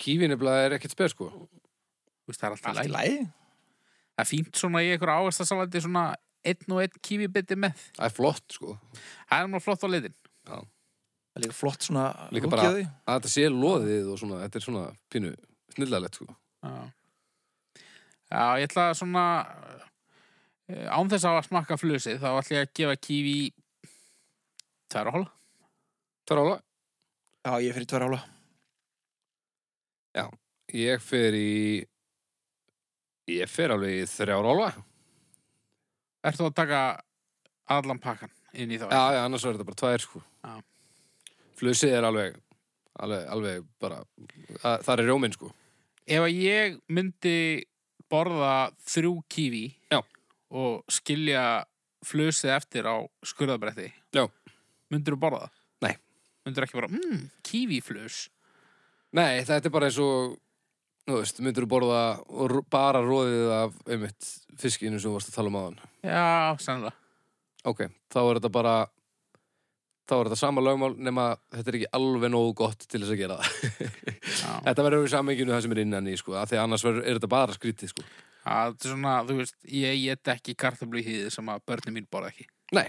Speaker 2: Kífin er bara ekkert spes, sko.
Speaker 1: Þú veist, það er alltaf
Speaker 3: Allt í
Speaker 1: læg.
Speaker 3: lagi
Speaker 1: Það er fínt svona í einhverju ávastasalandi svona einn og einn kífibiti með.
Speaker 2: Það er flott, sko.
Speaker 1: Það er náttúrulega flott á litin.
Speaker 3: Það er líka flott svona
Speaker 2: Líka
Speaker 3: lúkið
Speaker 2: bara-
Speaker 3: á því.
Speaker 2: Að þetta sé loðið og svona, þetta er svona pínu snillalegt, sko.
Speaker 1: Já. Já, ég ætla að svona eh, án þess að smakka flusið þá ætla ég að gefa kífi tæra hóla.
Speaker 2: Það er ála.
Speaker 3: Já, ég fyrir tverja ála
Speaker 2: Ég fer í... Ég fer alveg í þrjár ála.
Speaker 1: Ertu að taka allan pakkan inn í þá?
Speaker 2: Já, já, annars verður þetta bara tvær, sko.
Speaker 1: Já.
Speaker 2: Flusið er alveg, alveg, alveg bara... Það, það er rjóminn, sko.
Speaker 1: Ef að ég myndi borða þrjú kífi
Speaker 2: Já.
Speaker 1: og skilja flusið eftir á skurðabretti
Speaker 2: Já.
Speaker 1: myndirðu borða það?
Speaker 2: Nei.
Speaker 1: Myndirðu ekki bara, mmm, kífiflus
Speaker 2: Nei, þetta er bara eins og... Þú veist, myndur þú borða r- bara róðið af einmitt fiskinu sem þú varst að tala um áðan.
Speaker 1: Já, sannlega
Speaker 2: Ok, þá er þetta bara þá er þetta sama lögmál nema þetta er ekki alveg nógu gott til þess að gera það.
Speaker 1: Já.
Speaker 2: Þetta verður í sammenginu það sem er innan í sko, af því að annars verður, er þetta bara skrítið sko.
Speaker 1: Það er svona, þú veist, ég get ekki kartablu í hýði sem að börnum mín borða ekki
Speaker 2: Nei,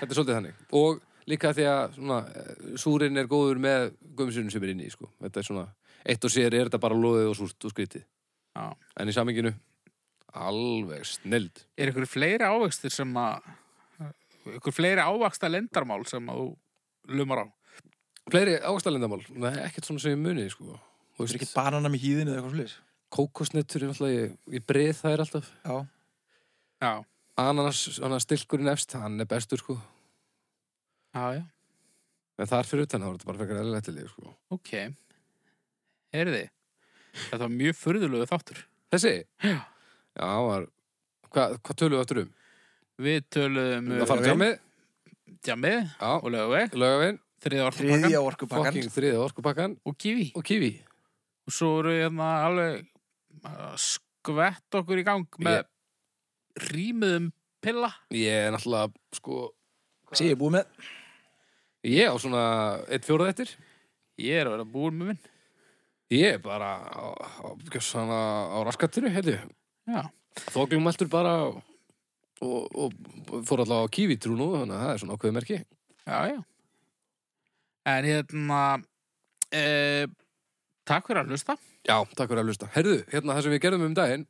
Speaker 2: þetta er svolítið þannig. Og líka því að svona, eh, súrin er góður með gumsunum sem er inni í sko. Þetta er svona, eitt og sér er þetta bara loðið og súrt og skrítið.
Speaker 1: Já.
Speaker 2: En í sammenginu, alveg snild.
Speaker 1: Er ykkur fleiri ávegstir sem að ykkur fleiri ávaksta lendarmál sem að þú lumar á?
Speaker 2: Fleiri ástælendamál, Nei, ekkert svona sem ég muni sko. Þú
Speaker 3: Það er ekki
Speaker 2: veist,
Speaker 3: banana með hýðinu eða eitthvað slis
Speaker 2: kókosnettur er alltaf, ég, ég breið það er alltaf.
Speaker 3: Já,
Speaker 1: Já,
Speaker 2: ananas, hann er stilkurinn efst, hann er bestur sko.
Speaker 1: já, já,
Speaker 2: En þar fyrir utan, þá er þetta bara frekar eðlættileg sko.
Speaker 1: ok Heyrði, þetta var mjög furðulegu þáttur
Speaker 2: Þessi?
Speaker 1: Já.
Speaker 2: Já, hann var, hvað hva tölum við áttur um?
Speaker 1: Við töluðum
Speaker 2: Það fara djámið,
Speaker 1: Djamið
Speaker 2: já,
Speaker 1: og Lögaveg,
Speaker 2: lögavinn,
Speaker 1: þriða orkupakkan
Speaker 3: þriðja orkupakkan
Speaker 2: fucking þriðið orkupakkan
Speaker 1: og Kiwi
Speaker 2: og kiwi.
Speaker 1: og svo eru hérna alveg að skvett okkur í gang með
Speaker 2: Ég-
Speaker 1: yeah. rýmuðum pilla
Speaker 2: Ég er náttúrulega, sko,
Speaker 3: Sér ég er búið með
Speaker 2: ég á svona eitt fjórað eftir.
Speaker 1: Ég er að vera búin með minn
Speaker 2: Ég er bara á, á, svona, á raskattinu, heiti.
Speaker 1: Já,
Speaker 2: Þoklum eldur bara og, og, og fór allavega á kiwi trú nú, þannig að það er svona ákveðið merki.
Speaker 1: já, já En hérna e, Takk fyrir að hlusta
Speaker 2: Já, takk fyrir að hlusta. Herðu, hérna það sem við gerðum um daginn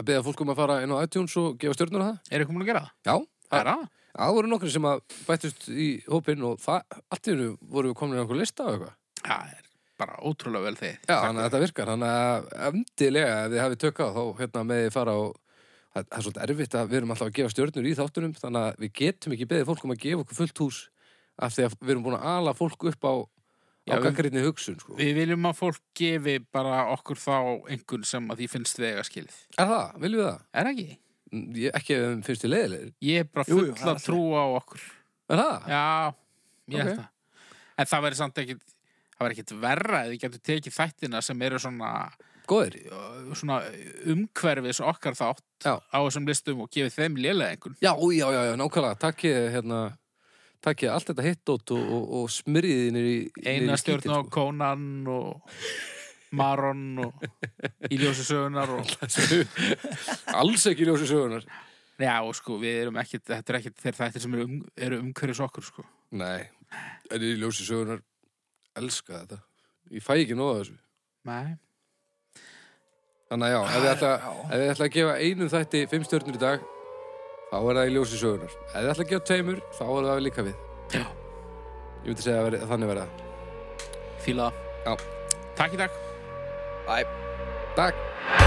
Speaker 2: að beða fólk um að fara inn á iTunes og gefa stjörnur að það.
Speaker 1: Er þið komin að gera það?
Speaker 2: Já,
Speaker 1: Það er það?
Speaker 2: Já, það voru nokkri sem að bættust í hópinn og það, allt í hennu voru við komin í einhver lista og eitthvað.
Speaker 1: Já, það er bara ótrúlega vel þið
Speaker 2: Já, þannig að þetta virkar, þannig að endilega ef þið hafið tökkað þá hérna með þið fara og það, það er svolítið erfitt að við erum alltaf að gefa stjörnur í þáttunum þannig að við getum ekki beðið fólk um að gefa okkur fullt hús af því að við erum búin að ala fólk upp á, á
Speaker 1: Já, við-
Speaker 2: gaggrinni hugsun, sko.
Speaker 1: Við viljum að fólk gefi bara okkur þá einhvern sem að því finnst vega skilið
Speaker 2: Er það? Viljum við það?
Speaker 1: Er það ekki?
Speaker 2: N- Ég, ekki ef þeim finnst þið leiðilegir.
Speaker 1: Ég er bara
Speaker 3: Jú, jú, það
Speaker 1: full
Speaker 3: er
Speaker 1: að
Speaker 3: allt í
Speaker 1: trúa á okkur
Speaker 2: Er það?
Speaker 1: Já, ég held
Speaker 2: Ok.
Speaker 1: það. En það verður samt ekkit, það verður ekkit verra eða við getum tekið þættina sem eru svona,
Speaker 2: Góðir?
Speaker 1: uh, svona umhverfis okkar þátt
Speaker 2: Já.
Speaker 1: á þessum listum og gefið þeim lélega einhvern.
Speaker 2: Já, já, já, já, nákvæmlega, takkið hérna, takkið allt þetta hittótt og, og, og smyrðið niður í niður
Speaker 1: Eina
Speaker 2: í skítið,
Speaker 1: stjórn á Conan og Maron og Íljósi sögunar og
Speaker 2: sko. Alls ekki ljósi sögunar
Speaker 1: já og sko við erum ekkit, þetta er ekkit þeir þættir sem eru, um, eru umhverfis okkur sko.
Speaker 2: Nei, en ég ljósi sögunar elska þetta Ég fæ ekki nóða þessu
Speaker 1: Nei,
Speaker 2: Þannig að já, ef þið ætla,
Speaker 3: Já.
Speaker 2: ef þið ætla að gefa einum þætti fimm stjörnur í dag þá er það í ljósi sögunar Ef þið ætla að gefa tveimur, þá er það líka við
Speaker 1: Já.
Speaker 2: Ég myndi segja að veri, þannig verða það.
Speaker 1: fíla það.
Speaker 2: Já.
Speaker 1: Takk í dag.
Speaker 3: Æ,
Speaker 2: Takk